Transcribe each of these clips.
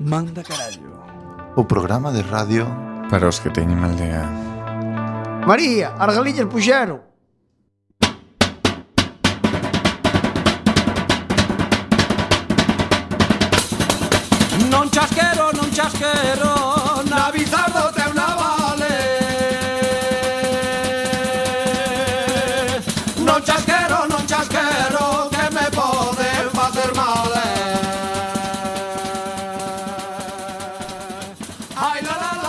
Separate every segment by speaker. Speaker 1: Manda carallo.
Speaker 2: O programa de radio
Speaker 3: Para os que teñen mal día.
Speaker 4: María, as galillas puxeron.
Speaker 5: Non chasquero, non chasquero Na bizardo te una vale Non chasquero, non chasquero Que me poden facer mal eh. Ai, la, la, la.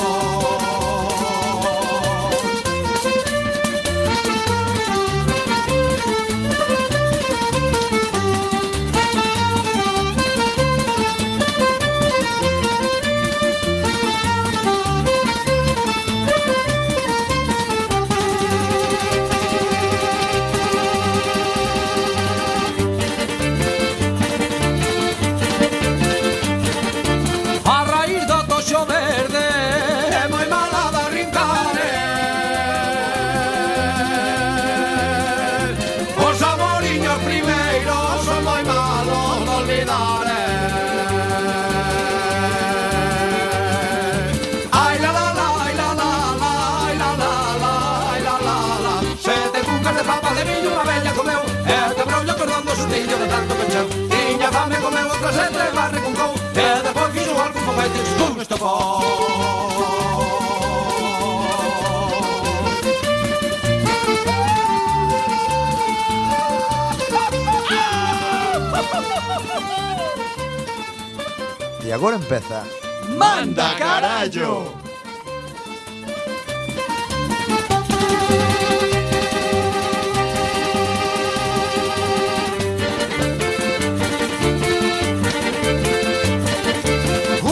Speaker 5: A raíz do toxo verde É moi mala da rincare Os amoriños primeiros Son moi malos de olvidar eh. Ai la la la, ai la la la Ai la la la, ai la la la Sete cucas de papa de viño Unha bella comeu E te brollo cordón do sustillo de tanto pecheu Tiña fame comeu outra sete Barre con cou E depois fixo algún foguete Pum, estopou
Speaker 4: E agora empeza
Speaker 5: Manda carallo.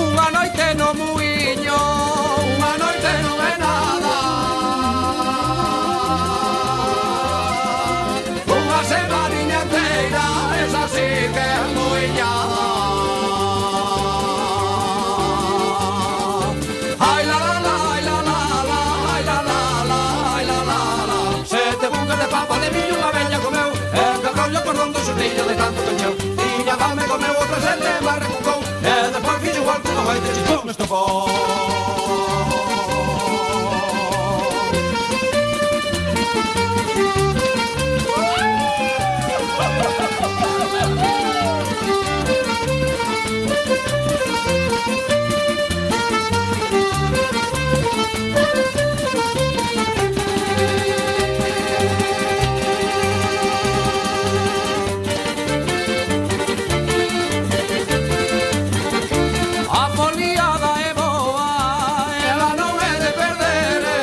Speaker 5: Unha noite no muiño, unha noite non é nada. Unha semaniña inteira, esa sí que é muiñada. Ai la la la, ai la la la, ai la la la, ai la la la. Sete bucas de papa de millo unha bella comeu, e que rollo cordón do xurrillo de tanto cancheu. Tiña fame comeu outra sete, mas recucou, e despois fixo igual como vai ter xipón estofón. A foliada é boa, ela non é de perder eh.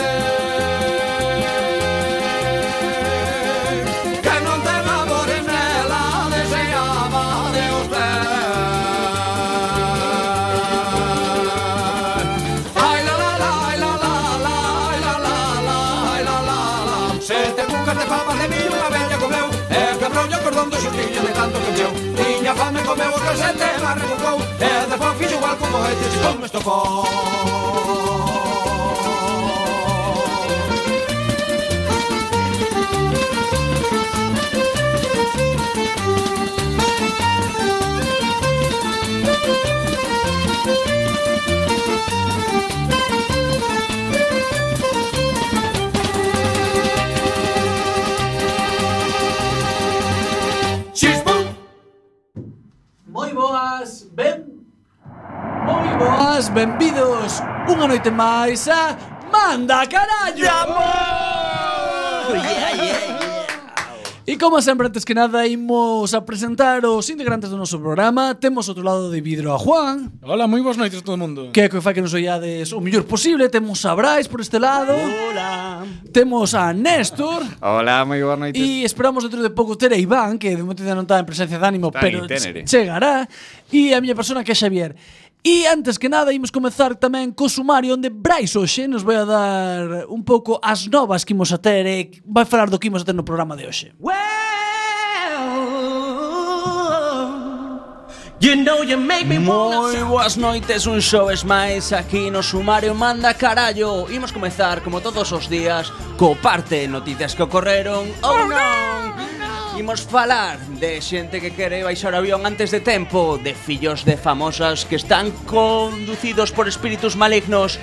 Speaker 5: Que non ten amores nela, deseaba de os ver Ai la la la, ai la la la, ai la la la, ai la la la Sete cucas de papas de millo unha bella comeu E quebrou o cordón do xurtillo de tanto que encheu Tiña fame comeu o casete, mas recucou E depois fixo igual como e te xipón estofón Xipón
Speaker 1: Moi boas, ben... Moi boas, benvidos unha noite máis a Manda Carallo! E como sempre, antes que nada, imos a presentar os integrantes do noso programa. Temos outro lado de vidro a Juan,
Speaker 6: Hola, moi boas noites a todo mundo.
Speaker 1: que é que fai que nos ollades o mellor posible. Temos a Brais por este lado. Hola. Temos a Néstor.
Speaker 3: Hola, moi boa noite.
Speaker 1: E esperamos dentro de pouco ter a Iván, que de momento ainda non está en presencia de ánimo,
Speaker 3: Está
Speaker 1: pero
Speaker 3: in tenere.
Speaker 1: chegará. E a miña persona que é Xavier. E antes que nada, imos comezar tamén co sumario onde Brais hoxe nos vai a dar un pouco as novas que imos a ter e vai falar do que imos a ter no programa de hoxe.
Speaker 5: Well,
Speaker 6: You know you make me
Speaker 7: Moi
Speaker 6: wanna...
Speaker 7: boas noites, un xoves máis aquí no Sumario Manda Carallo Imos comezar, como todos os días, co parte noticias que ocorreron ou oh, non Imos falar de xente que quere baixar o avión antes de tempo De fillos de famosas que están conducidos por espíritus malignos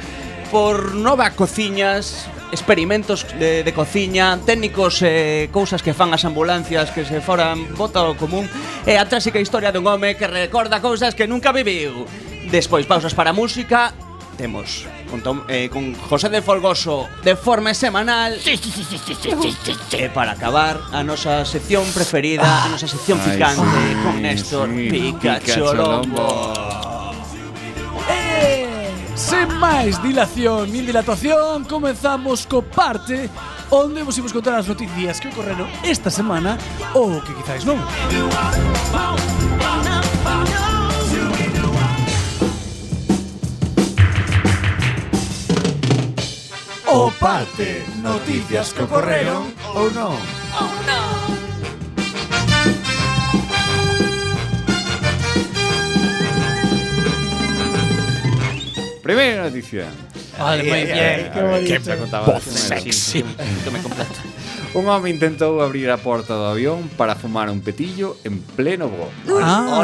Speaker 7: Por nova cociñas, experimentos de, de cociña, técnicos e eh, cousas que fan as ambulancias que se foran bota ao común e a tráxica historia dun home que recorda cousas que nunca viviu. Despois pausas para a música, temos con, Tom, eh, con José de Folgoso de forma semanal e para acabar a nosa sección preferida, a nosa sección
Speaker 3: Ai,
Speaker 7: picante
Speaker 3: sí,
Speaker 7: con Néstor
Speaker 3: sí,
Speaker 7: Picacholombo.
Speaker 1: Eh, Sen máis dilación nin dilatación, comezamos co parte onde vos imos contar as noticias que ocorreron esta semana ou que quizáis non.
Speaker 4: O parte, noticias que ocorreron ou non.
Speaker 3: Primera noticia.
Speaker 1: Vale, moi bien, que bonito.
Speaker 3: Voz sexy. Un home intentou abrir a porta do avión para fumar un petillo en pleno voo.
Speaker 1: Ah,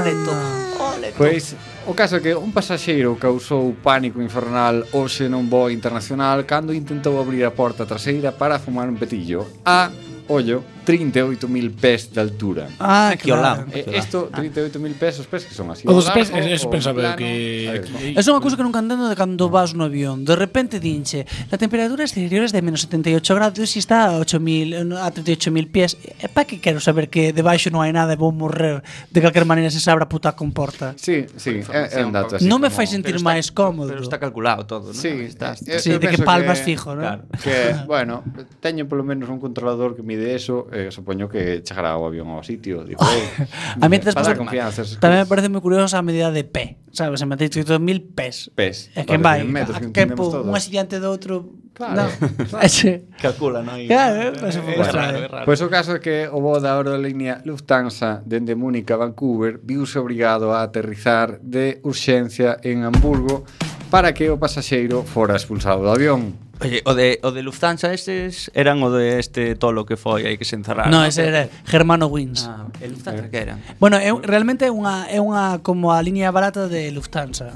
Speaker 3: Pois, o caso é que un pasaxeiro causou pánico infernal hoxe nun voo internacional cando intentou abrir a porta traseira para fumar un petillo a, ollo, 38.000 pés de altura.
Speaker 1: ah,
Speaker 7: Aquí ao lado.
Speaker 1: claro.
Speaker 3: E isto, 38.000 pés, os pés que son así.
Speaker 8: O dos
Speaker 3: ao
Speaker 8: pés,
Speaker 3: largo,
Speaker 8: eso
Speaker 3: ao
Speaker 8: pensaba
Speaker 3: plano. A
Speaker 8: que...
Speaker 3: ver,
Speaker 8: que-
Speaker 1: É unha cousa que nunca entendo de cando vas no avión. De repente dinche, la temperatura exterior es de menos 78 grados e está a 8000 a 38.000 pies. É pa que quero saber que debaixo non hai nada e vou morrer de calquer maneira se se abra a puta comporta.
Speaker 3: Sí, sí, é, é un dato así.
Speaker 1: non me
Speaker 3: como-
Speaker 1: fai sentir
Speaker 7: Pero está-
Speaker 1: máis cómodo.
Speaker 7: Pero está calculado todo, non?
Speaker 3: Sí,
Speaker 7: está,
Speaker 3: eh,
Speaker 1: Sí,
Speaker 3: eu
Speaker 1: de que
Speaker 3: penso
Speaker 1: palmas fijo, ¿no?
Speaker 7: Claro.
Speaker 3: Que, bueno, teño polo menos un controlador que mide eso, eh, supoño que chegará o avión ao sitio, digo,
Speaker 1: A mí antes
Speaker 3: para dar
Speaker 1: pasou-
Speaker 3: confianza. esas
Speaker 1: Tamén me
Speaker 3: cousas.
Speaker 1: parece moi curiosa a medida de P, sabes? Se me teis 8.000 pés.
Speaker 3: Pés,
Speaker 1: É que vai,
Speaker 3: vale, en metros que
Speaker 1: a que
Speaker 3: entendemos
Speaker 1: po,
Speaker 3: todos.
Speaker 1: un accidente do outro...
Speaker 3: Claro,
Speaker 1: no. Ese-
Speaker 7: Calcula, non?
Speaker 1: Claro, eh, pasa un pouco
Speaker 3: Bueno,
Speaker 1: extraño.
Speaker 3: Pois o caso é que o voo da aerolínea Lufthansa dende Múnich a Vancouver viuse obrigado a aterrizar de urxencia en Hamburgo para que o pasaxeiro fora expulsado do avión.
Speaker 7: Oye, o de, o de Lufthansa estes eran o de este tolo que foi aí que
Speaker 5: Ah,
Speaker 7: se encerraron.
Speaker 1: No, ese era Germano Wins.
Speaker 7: Ah, el Lufthansa que eran.
Speaker 1: Bueno, é, un- realmente é unha, é unha como a liña barata de Lufthansa.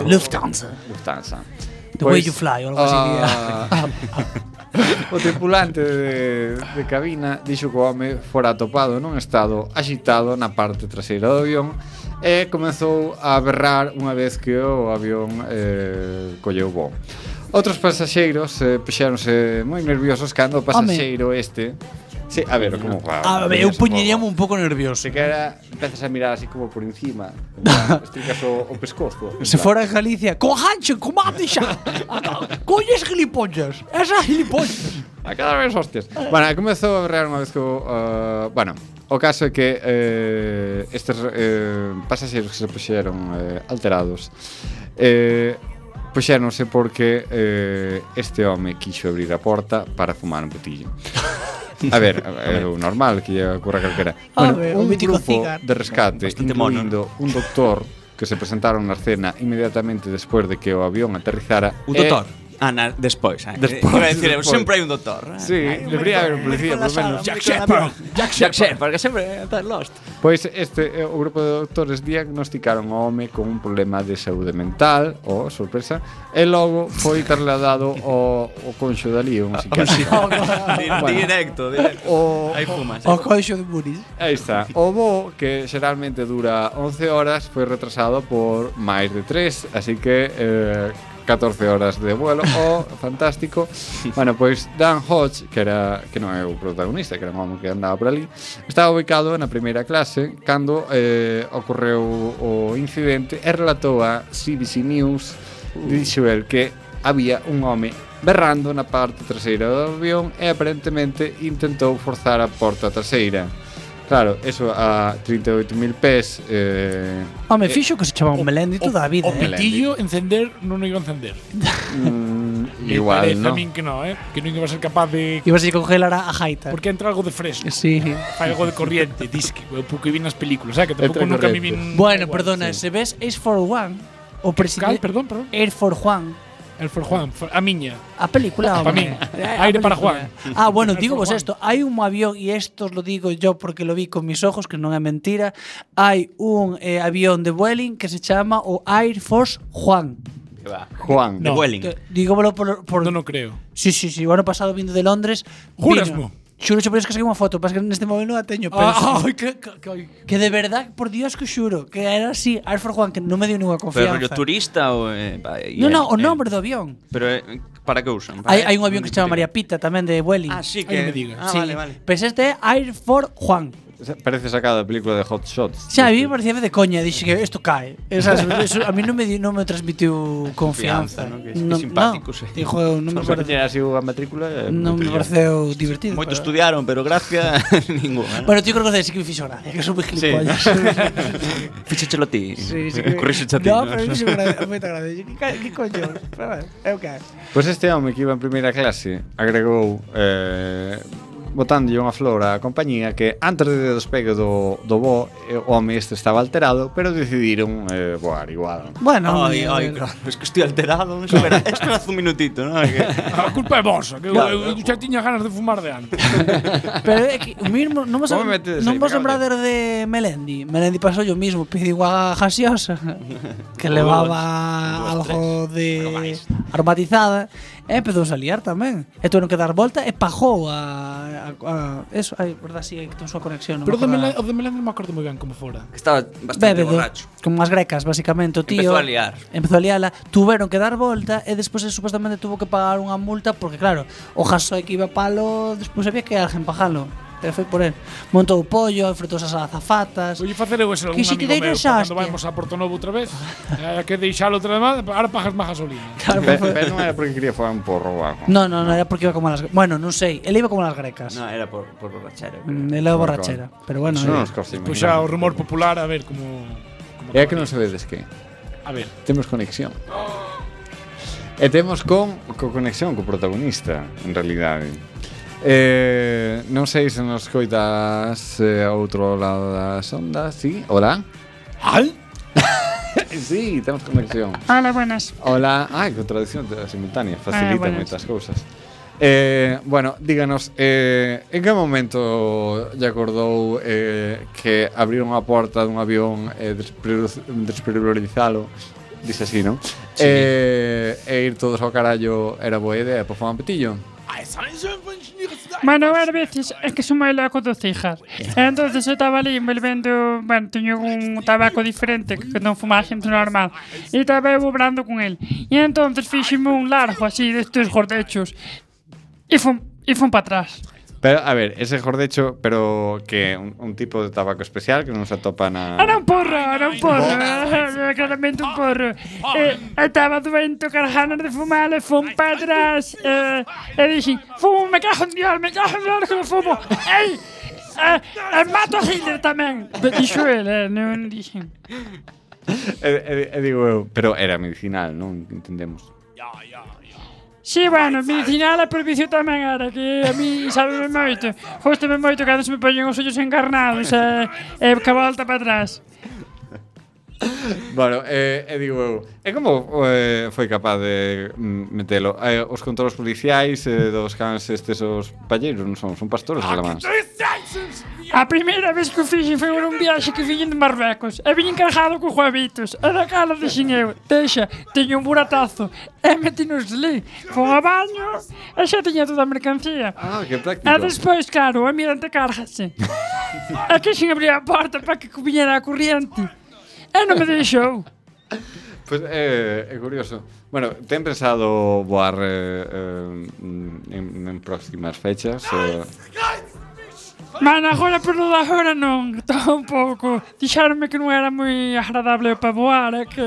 Speaker 1: Lufthansa.
Speaker 3: Lufthansa.
Speaker 1: The way you fly, ou algo así.
Speaker 3: ah, o tripulante de, de cabina dixo que o home fora atopado nun estado agitado na parte traseira do avión e comezou a berrar unha vez que o avión eh, colleu voo. Outros pasaxeiros eh, puxéronse moi nerviosos cando o pasaxeiro este... Sí, a ver, como...
Speaker 1: A ver, Ah, eu puñeríame un pouco nervioso.
Speaker 3: Se que era, empezas a mirar así como por encima, en plan, esticas o, o pescozo. en
Speaker 1: Se
Speaker 3: plan.
Speaker 1: fora a Galicia, cojanche, comate xa. Colles gilipollas. Esas gilipollas.
Speaker 3: A cada vez hostias. Bueno, comezou a berrear unha vez que o, uh, bueno, o caso é que eh, estes eh, pasaxeiros que se puxeron eh, alterados eh, puxéronse porque eh, este home quixo abrir a porta para fumar un botillo. A ver, é o normal que lle ocurra a calquera.
Speaker 1: A
Speaker 3: Bueno,
Speaker 1: ver, o
Speaker 3: un
Speaker 1: mítico
Speaker 3: grupo
Speaker 1: cigar.
Speaker 3: de rescate,
Speaker 7: Bastante mono,
Speaker 3: incluindo un doctor que se presentaron na escena inmediatamente despois de que o avión aterrizara. eh,
Speaker 7: Un
Speaker 3: e-
Speaker 7: doctor. Ah, na, despois. Eh.
Speaker 3: Despois,
Speaker 7: Iba a decir,
Speaker 3: despois.
Speaker 7: sempre hai un doctor. eh.
Speaker 3: Sí, debería haber un policía, polo menos.
Speaker 1: Jack Shepard. Jack
Speaker 7: Jack
Speaker 1: Shepard.
Speaker 7: Shepard, que sempre está lost.
Speaker 3: Pois este eh, o grupo de doctores diagnosticaron ao home con un problema de saúde mental, oh, sorpresa, e logo foi trasladado ao, ao conxo dali, un psiquiatra.
Speaker 7: directo, directo.
Speaker 3: O,
Speaker 7: Aí fumas.
Speaker 1: O coixo de Muris.
Speaker 3: aí está. O voo, que xeralmente dura 11 horas, foi retrasado por máis de 3, así que eh, 14 horas de vuelo, o fantástico. Bueno, pois Dan Hodge, que era que non é o protagonista, que era un home que andaba por ali, estaba ubicado na primeira clase cando eh, ocorreu o incidente e relatou a CBC News dixo el que había un home berrando na parte traseira do avión e aparentemente intentou forzar a porta traseira. Claro, eso a 38.000 pés eh,
Speaker 1: Home, fixo que se chamaba un Melendi toda a vida.
Speaker 8: O
Speaker 1: eh.
Speaker 8: petillo, encender, non o iba a encender.
Speaker 3: mm, Igual,
Speaker 5: parece a
Speaker 3: ¿no?
Speaker 5: min que no, eh? Que non iba a ser capaz de...
Speaker 1: Ibas a congelar a, a Jaita.
Speaker 5: Porque entra algo de fresco.
Speaker 1: Sí.
Speaker 5: Fai algo de corriente, disque, eu porque vi nas películas, eh? Que tampouco
Speaker 3: Entra en
Speaker 5: nunca me
Speaker 3: corriente.
Speaker 5: vin...
Speaker 1: Bueno,
Speaker 5: igual,
Speaker 1: perdona,
Speaker 5: sí.
Speaker 1: se ves Ace for One o
Speaker 5: Cal,
Speaker 1: presidente
Speaker 5: perdón, perdón.
Speaker 1: Air for Juan.
Speaker 5: El for Juan, for- a miña.
Speaker 1: A
Speaker 6: Ah,
Speaker 1: película, Eh,
Speaker 5: Pa min.
Speaker 1: hombre. A
Speaker 5: Aire para
Speaker 1: película.
Speaker 5: Juan.
Speaker 1: Ah, bueno,
Speaker 5: Air
Speaker 1: digo
Speaker 5: for
Speaker 1: vos
Speaker 5: Juan.
Speaker 1: esto. Hai un avión, e esto lo digo yo porque lo vi con mis ojos, que non é mentira, hai un eh, avión de Vueling que se chama o Air Force Juan.
Speaker 3: Juan.
Speaker 5: No.
Speaker 7: Vueling.
Speaker 1: Que, dígomelo por, por
Speaker 5: Non o creo.
Speaker 1: Sí, sí, sí, o ano pasado vindo de Londres.
Speaker 5: Jurasmo?
Speaker 1: vino. Xuro, xo, pero es que saquei unha foto, pasa que este neste móvil non a teño, pero
Speaker 5: Ah, Ai, que, que, que,
Speaker 1: que de verdad, por Dios que xuro, que era así, Air Force One, que non me dio ninguna
Speaker 7: Pero
Speaker 1: confianza.
Speaker 7: rollo turista o eh, pa- y,
Speaker 1: No, no, o
Speaker 7: eh, eh,
Speaker 1: nombre do avión.
Speaker 7: Pero eh, para que usan? Para
Speaker 1: Hai, hai
Speaker 7: eh,
Speaker 1: un avión que se chama María Pita tamén de Vueling.
Speaker 7: Ah, sí
Speaker 5: Ay,
Speaker 7: que
Speaker 5: no me digas.
Speaker 7: Ah,
Speaker 1: Sí.
Speaker 7: vale, vale.
Speaker 1: Pero este é Air Force Juan.
Speaker 3: Parece sacado de película de Hot Shots.
Speaker 1: Xa, a mí me parecía de coña, dixe que isto cae. Esas, eso, a mí non me, di- non me transmitiu confianza.
Speaker 7: Confianza, ¿no? Que es- que simpático, sí.
Speaker 1: no. Dijo, non me parece,
Speaker 3: así unha matrícula. eh,
Speaker 1: non me
Speaker 3: brutilla.
Speaker 1: pareceu divertido.
Speaker 7: Moito
Speaker 1: pero-
Speaker 7: estudiaron, pero gracia ninguna. ¿no?
Speaker 1: Bueno, ti creo que sí que me fixo gracia, que son moi gilipollas.
Speaker 7: Fíchachelo ti.
Speaker 1: Sí, sí que-
Speaker 7: Corríxeche a ti.
Speaker 1: No, pero fixo gracia, moita gracia. Que ca- Que coño? Pero bueno, É o que é.
Speaker 3: Pois este home que iba en primeira clase agregou eh, botándolle unha flor á compañía que antes de despegue do, do voo eh, o home este estaba alterado pero decidiron eh, voar igual
Speaker 1: Bueno,
Speaker 7: Ay,
Speaker 1: a
Speaker 7: ay,
Speaker 1: ver.
Speaker 7: claro, es que estoy alterado. Espera, espera un minutito, ¿no? Que-
Speaker 5: a Ah, culpa é vosa, que
Speaker 7: Claro.
Speaker 5: eu, eu xa tiña ganas de fumar de antes.
Speaker 1: Pero é que o mismo, non vos,
Speaker 3: Vou me meter
Speaker 1: non
Speaker 3: ese,
Speaker 1: vos
Speaker 3: me cago
Speaker 1: lembrades de Melendi. Melendi pasou o mismo, pediu a gaseosa que levaba
Speaker 7: Dúas, dúas,
Speaker 1: algo de
Speaker 7: probáis.
Speaker 1: aromatizada e empezou a liar tamén. E tuveron que dar volta e pajou a, a, a eso, ai, verdad, si sí, que ten súa conexión. non
Speaker 5: Pero o
Speaker 1: me
Speaker 5: de Melen-
Speaker 1: acordaba.
Speaker 5: o de Melendi non me acordo moi ben como fora.
Speaker 7: Que estaba bastante
Speaker 1: Bébedo,
Speaker 7: borracho.
Speaker 1: con unhas grecas, basicamente, o tío.
Speaker 7: Empezou a liar.
Speaker 1: Empezou a liala, tuveron que dar volta e despois eh, supostamente tuvo que pagar unha multa porque claro, o jasoi que iba palo, despois había que alguén pajalo. E foi por él. Montou o pollo, enfrentouse as azafatas.
Speaker 5: Voulle facer eu ese algún
Speaker 1: Que si
Speaker 5: amigo
Speaker 1: te
Speaker 5: meu, pa
Speaker 1: deiras hostia.
Speaker 5: cando vamos a Porto Novo outra vez, hai que deixalo outra vez, ahora pagas máis gasolina.
Speaker 1: Claro,
Speaker 3: pero,
Speaker 1: foi-
Speaker 3: pero non era porque quería fogar un porro ou algo
Speaker 1: No, no, no era porque iba como las, bueno, non sei, ele iba como las grecas.
Speaker 7: No, era por, por borrachero. creo.
Speaker 1: Mm, Ele é borrachera, pero bueno.
Speaker 3: Eso
Speaker 1: eh.
Speaker 3: non nos costa
Speaker 5: Pois xa o
Speaker 3: imaginar.
Speaker 5: rumor popular, a ver como... como
Speaker 3: É
Speaker 5: acabaría.
Speaker 3: que non sabedes que
Speaker 5: A ver,
Speaker 3: Temos conexión E temos con co conexión co protagonista En realidade eh, Non sei se nos coitas eh, a outro lado das ondas Sí, hola
Speaker 5: Al?
Speaker 3: Sí, temos conexión
Speaker 6: Hola, buenas.
Speaker 3: Hola, ai, que traducción simultánea Facilita
Speaker 6: Ah, bueno.
Speaker 3: moitas cousas Eh, bueno, díganos eh, En que momento lle acordou eh, Que abriron a porta dun avión eh, desprioriz- Despriorizalo Dice así, non? Eh, e ir todos ao carallo Era boa idea, por favor, petillo
Speaker 6: Bueno, a ver, veces es que son muy loco dos hijas. Entonces yo estaba allí envolviendo, bueno, tenía un tabaco diferente que no fumaba gente normal. Y estaba eu obrando con él. Y entonces fíjeme un largo así de estos gordechos. Y fue, y fue para atrás.
Speaker 3: Pero, a ver, ese jordecho Pero que un, un tipo de tabaco especial Que non se atopa na...
Speaker 6: Era un porro, era un porro, era claramente un porro. Eh, estaba doento con ganas de fumar, le fum para atrás. Eh, e dixen, fumo, me cago en Dios, me cago en Dios que me fumo. Ei, eh, eh, mato a Hitler tamén. De- Dixo el, eh, non dixen.
Speaker 3: E, e, e digo eu, pero era medicinal, non? Entendemos
Speaker 6: Sí, bueno, medicinal e prohibición tamén era Que a mí sabe moito Gostame moito cando se me poñen os ollos encarnados eh, E, e cabalta para atrás
Speaker 3: Bueno, eh, e digo eu, e como eh, foi capaz de mm, metelo? Eh, os controlos policiais eh, dos cans estes os palleiros, non son, son pastores
Speaker 8: Ah,
Speaker 3: alemáns.
Speaker 6: A primeira vez que o fixen foi un viaxe que viñen de Marruecos E viñen cargado con huevitos E da cara dixen eu Deixa, teño un buratazo E metinos li Fon a baño E xa tiña toda a mercancía
Speaker 3: Ah, que práctico.
Speaker 6: E despois, claro, o mirante cárgase E que xin abrir a porta para que viñera a corriente E non me deixou
Speaker 3: Pois eh, é curioso. Bueno, ten pensado voar eh, eh, mm, en, en próximas fechas? Eh,
Speaker 6: Man, agora por toda agora non Está un pouco Dixaronme que non era moi agradable para voar
Speaker 8: eh,
Speaker 6: É que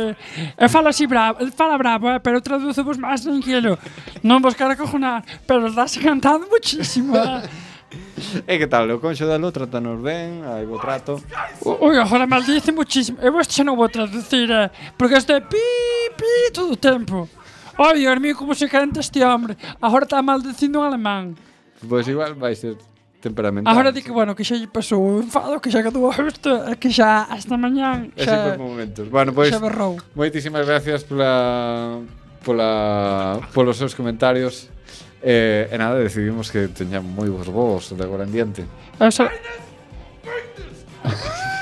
Speaker 6: E fala así bravo Fala bravo, eh, pero traduzo vos máis tranquilo Non vos quero cojonar Pero dáse cantando muchísimo eh.
Speaker 3: e que tal? O conxo da lo tratanos ben, hai bo trato.
Speaker 6: Ui, agora maldice muchísimo Eu isto xa non vou traducir eh, Porque isto é pi, pi todo o tempo
Speaker 8: Oh, Dios mío, como se canta este hombre. Ahora está maldeciendo un alemán.
Speaker 3: Pois igual vai ser temperamental.
Speaker 8: Ahora di que, bueno, que xa lle pasou o enfado, que xa que tuvo isto, eh, que xa hasta mañán,
Speaker 3: Ese
Speaker 8: xa,
Speaker 3: foi por momentos. Bueno, pois
Speaker 8: xa berrou.
Speaker 3: moitísimas gracias pola pola polos seus comentarios. Eh, e nada, decidimos que teñan moi bons voos de agora en diante.
Speaker 8: O sea,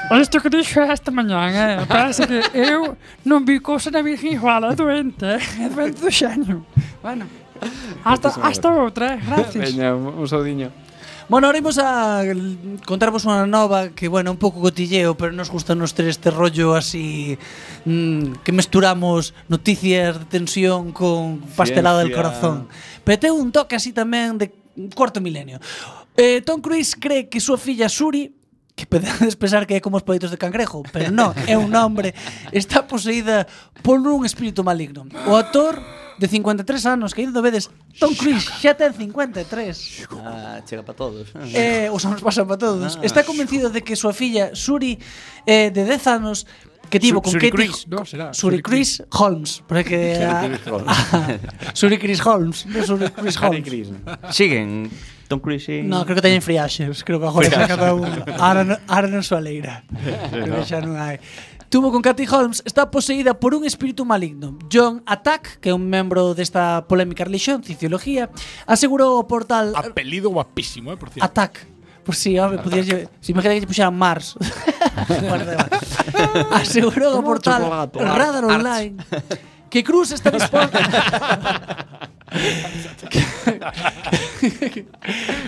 Speaker 8: Isto que dixo é esta mañán, eh? Parece que eu non er vi cousa na Virgen igual, é doente, eh? é doente do xeño. Bueno, hasta, hasta outra, eh? gracias.
Speaker 3: Veña, un un saudiño.
Speaker 1: Bueno, ahora imos a l- contarvos unha nova que, bueno, un pouco cotilleo, pero nos gusta nos ter este rollo así mm, que mesturamos noticias de tensión con pastelado del
Speaker 3: Ciencia.
Speaker 1: corazón. Pero ten un toque así tamén de cuarto milenio. Eh, Tom Cruise cree que súa filla Suri que podedes pensar que é como os palitos de cangrejo, pero non, é un hombre, está poseída por un espírito maligno. O actor de 53 anos, que ainda o vedes, Tom Cruise xa ten 53.
Speaker 7: Ah, chega para todos.
Speaker 1: Eh, os anos pasan para todos. Está convencido de que súa filla Suri eh, de 10 anos que tivo con
Speaker 6: Su-
Speaker 1: Katie
Speaker 6: Suri Cris, no, será,
Speaker 1: Suri
Speaker 6: Suri
Speaker 1: Chris
Speaker 6: Cris.
Speaker 1: Holmes, porque era Suri Chris Holmes, non Suri Chris Holmes.
Speaker 7: Siguen Tom Cruise e...
Speaker 1: No, creo que teñen friaxes, creo que agora xa cada un. Ahora, no- ahora non sou aleira. Creo que xa non hai. Tuvo con Katie Holmes está poseída por un espírito maligno. John Attack, que é un membro desta polémica religión, cienciología, asegurou o portal
Speaker 6: Apelido guapísimo, eh, por cierto.
Speaker 1: Attack. Por si, home, podías lle... Si imagina que lle puxeran Mars. Bueno, da igual. Asegurou o portal Radar Online que Cruz está disposto que,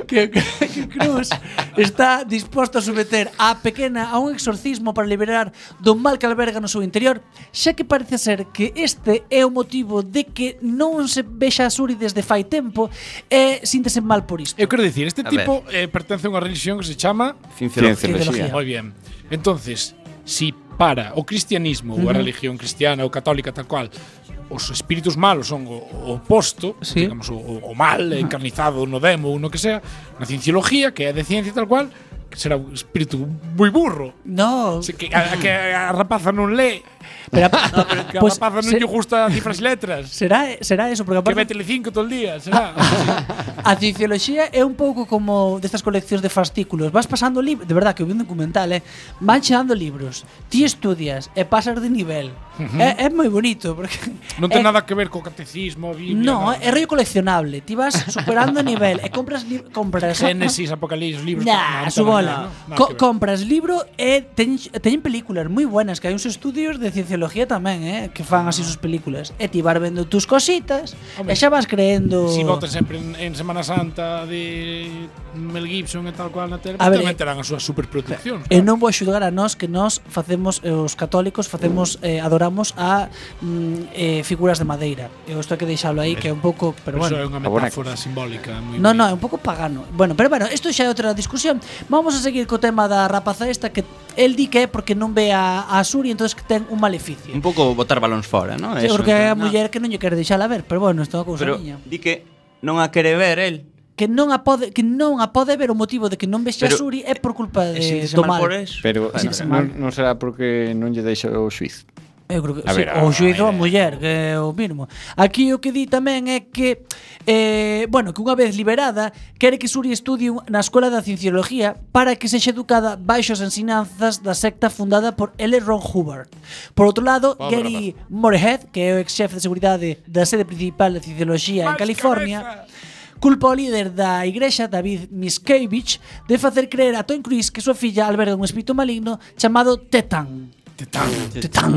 Speaker 1: que, que Cruz está disposto a someter a pequena a un exorcismo para liberar do mal que alberga no seu interior, xa que parece ser que este é o motivo de que non se vexa a Suri desde fai tempo e síntese mal por isto.
Speaker 6: Eu quero dicir, este
Speaker 7: A
Speaker 6: tipo eh, pertence a unha religión que se chama
Speaker 1: Cienciología.
Speaker 6: Muy bien. Entonces, si para o cristianismo ou a religión cristiana ou católica tal cual os espíritus malos son o, o oposto,
Speaker 1: Sí.
Speaker 6: digamos o, o o mal encarnizado no demo ou no que sea, na cienciología, que é de ciencia e tal cual, que será un espírito moi burro.
Speaker 1: No,
Speaker 6: Se que a, a que a rapaza non lee,
Speaker 1: pero,
Speaker 6: que a
Speaker 1: pues,
Speaker 6: rapaza non
Speaker 1: se-
Speaker 6: lle gusta cifras e letras.
Speaker 1: será, será eso, porque
Speaker 6: Que ve
Speaker 1: aparte
Speaker 6: Telecinco todo el día, será.
Speaker 1: Ah, a ciencioloxía é un pouco como destas coleccións de fascículos. Vas pasando libros, de verdad que vi un documental, eh? van chegando libros, ti estudias e pasas de nivel. é, é moi bonito, porque
Speaker 6: non ten
Speaker 1: é-
Speaker 6: nada que ver co catecismo, Biblia.
Speaker 1: Eh. No,
Speaker 6: nada.
Speaker 1: é rollo coleccionable. Ti vas superando nivel e compras li- compras
Speaker 6: Génesis, Apocalipsis, libros.
Speaker 1: Nah,
Speaker 6: no,
Speaker 1: su
Speaker 6: no,
Speaker 1: bola.
Speaker 6: no, nada
Speaker 1: Co-
Speaker 6: que ver.
Speaker 1: compras libro e teñen, teñen películas moi buenas, que hai uns estudios de cienciología tamén, eh, que fan
Speaker 6: Ah.
Speaker 1: así sus películas. E ti vas vendo tus cositas e
Speaker 6: Home,
Speaker 1: xa vas creendo
Speaker 6: Si votan sempre en, en Semana Santa de Mel Gibson e tal cual na tele,
Speaker 1: A ver, eh,
Speaker 6: tamén terán as súas superproduccións.
Speaker 1: E non vou axudar a nós que nós facemos eh, os católicos facemos eh, adoramos a mm, eh, figuras de madeira. Eu isto hai que deixalo aí que é un pouco, pero
Speaker 6: Pero Eso
Speaker 1: bueno.
Speaker 6: é unha
Speaker 3: bueno.
Speaker 6: metáfora simbólica. Moi
Speaker 1: No, no, é un pouco pagano. Bueno, pero bueno, isto xa é outra discusión. Vamos a seguir co tema da rapaza esta que el di que é porque non ve a, a Suri, entonces que ten un maleficio.
Speaker 7: Un pouco botar balóns fora, non?
Speaker 1: Sí,
Speaker 7: Ah, Eso,
Speaker 1: porque
Speaker 7: en
Speaker 1: é a
Speaker 7: plan, no,
Speaker 1: muller que non lle quere deixala ver, pero bueno, isto é unha cousa
Speaker 7: Pero
Speaker 1: miña.
Speaker 7: di que non a quere ver el.
Speaker 1: Que non a pode que non a pode ver o motivo de que non vexe a
Speaker 7: Pero-
Speaker 1: Suri é por culpa de
Speaker 7: E síntese
Speaker 1: do
Speaker 7: mal
Speaker 1: mal.
Speaker 7: por eso.
Speaker 3: Pero
Speaker 1: Sí, sí, mal.
Speaker 3: non, non será porque non lle deixa o xuiz.
Speaker 1: Eu creo que
Speaker 3: A
Speaker 1: sí,
Speaker 3: ver,
Speaker 1: o
Speaker 3: a-
Speaker 1: xuízo a
Speaker 3: a
Speaker 1: muller, que é o mínimo. Aquí o que di tamén é que eh, bueno, que unha vez liberada, quere que Suri estudie un- na Escola da Cienciología para que sexa educada baixo as ensinanzas da secta fundada por L. Ron Hubbard. Por outro lado,
Speaker 3: Pobre
Speaker 1: Gary Morehead, que é o ex xefe de seguridade da sede principal da Cienciología en California, Culpa o líder da igrexa, David Miscavige, de facer creer a Tom Cruise que súa filla alberga un espírito maligno chamado Tetan. Tetan. Tetan.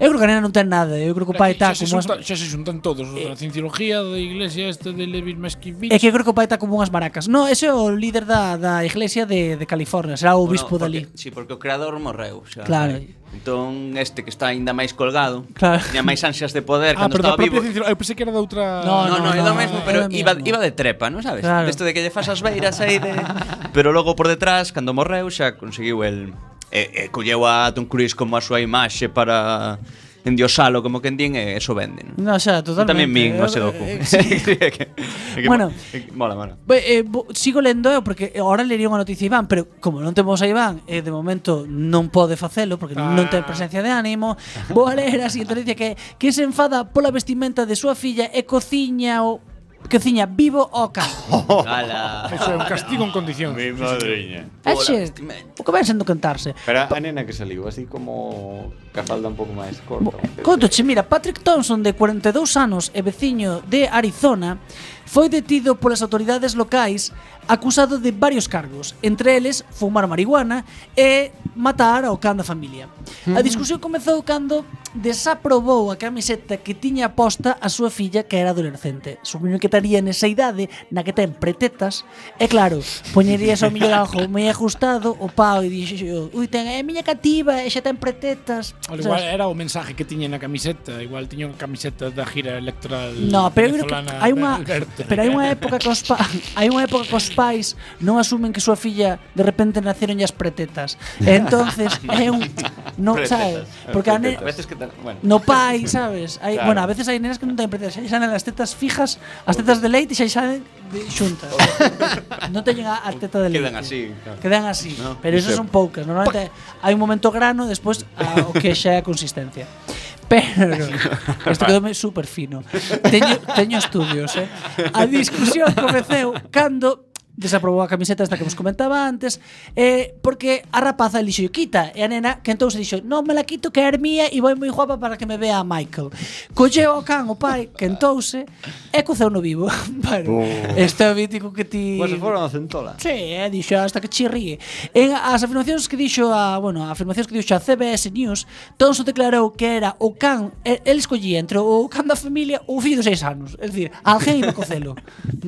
Speaker 1: Eu creo que a nena non ten nada, eu creo que o pai está
Speaker 6: xa, se
Speaker 1: como as... Eh,
Speaker 6: xunta, xa se xuntan todos, os da cienciología, da iglesia esta de Levi
Speaker 1: É
Speaker 6: Mesquivich.
Speaker 1: que eu creo que o pai está como unhas maracas. No, ese é o líder da, da iglesia de, de California, será o bispo dali.
Speaker 7: porque, Sí, porque o creador morreu xa.
Speaker 1: Claro.
Speaker 7: Entón este que está aínda máis colgado
Speaker 1: Claro.
Speaker 7: Tiña máis ansias de poder
Speaker 6: Ah,
Speaker 7: Cando
Speaker 6: pero da
Speaker 7: estaba
Speaker 6: propia
Speaker 7: vivo
Speaker 6: cienciología. Eu pensei que era da outra...
Speaker 1: No,
Speaker 7: No, no, é
Speaker 1: no,
Speaker 7: do mesmo,
Speaker 1: é
Speaker 7: pero
Speaker 1: do
Speaker 7: iba,
Speaker 1: mesmo.
Speaker 7: iba de trepa, non sabes?
Speaker 1: Claro.
Speaker 7: Desto de que lle fas as beiras aí de... Pero logo por detrás, cando morreu, xa conseguiu el... E, e colleu a Tom Cruise como a súa imaxe para endiosalo, como que din, e eso venden.
Speaker 1: No, xa,
Speaker 7: Eu
Speaker 1: totalmente.
Speaker 7: tamén min
Speaker 1: Eh,
Speaker 7: ese docu.
Speaker 1: eh,
Speaker 7: Sí. é que, é que
Speaker 1: Bueno.
Speaker 7: mo- é que mola, mola.
Speaker 1: Be- eh, bo- sigo lendo eu porque ahora lería unha noticia a Iván, pero como non temos a Iván, eh, de momento non pode facelo porque non ten presencia de ánimo. Vou a ler a siguiente noticia que é que se enfada pola vestimenta de súa filla e cociña o cociña vivo o can.
Speaker 7: Ala.
Speaker 6: Eso é un castigo en condición.
Speaker 9: Mi madriña.
Speaker 1: Exe, o que ven sendo cantarse.
Speaker 3: Pero a nena que saliu así como ca falda un pouco máis corta.
Speaker 1: Contoche, mira, Patrick Thompson de 42 anos e veciño de Arizona foi detido polas autoridades locais acusado de varios cargos, entre eles fumar marihuana e matar ao can da familia. A discusión comezou cando desaprobou a camiseta que tiña posta a súa filla que era adolescente. Supoño que estaría nesa idade na que ten pretetas e claro, poñerías ao millor algo moi ajustado o pao e dixo, ui, ten, é miña cativa e xa ten pretetas.
Speaker 6: Al igual era o mensaje que tiña na camiseta, igual tiña unha camiseta da gira electoral.
Speaker 1: No, pero eu creo que
Speaker 6: venezolana
Speaker 1: hai
Speaker 6: de
Speaker 1: unha
Speaker 6: Alberto.
Speaker 1: pero hai unha época que os pa, hai unha época que os pais non asumen que súa filla de repente naceron as pretetas. E entonces é un non sabes, porque a ne-
Speaker 3: A veces que tal, bueno.
Speaker 1: no pai, sabes? Hai, bueno, a veces hai nenas que non teñen pretetas, xa salen as tetas fijas, as tetas de leite xa salen de- xuntas. non teñen a, a teta de leite.
Speaker 7: Quedan así, claro.
Speaker 1: Quedan así, pero esas son poucas. Normalmente hai un momento grano, despois a, o que xa é a consistencia. Pero isto quedoume super fino. Teño, teño estudios, eh. A discusión comeceu cando desaprobou a camiseta esta que vos comentaba antes eh, porque a rapaza elixo quita e a nena que entón se dixo non me la quito que é mía e vou moi guapa para que me vea a Michael colleu o can o pai que entouse e coceu no vivo bueno, este é o mítico que ti
Speaker 3: Pois se foron a centola.
Speaker 1: Sí, eh, dixo hasta que chirríe. En as afirmacións que dixo a, bueno, as afirmacións que dixo a CBS News, Thompson declarou que era o can, el, el escollía entre o can da familia ou o fillo de seis anos. É dicir, alguén iba a cocelo.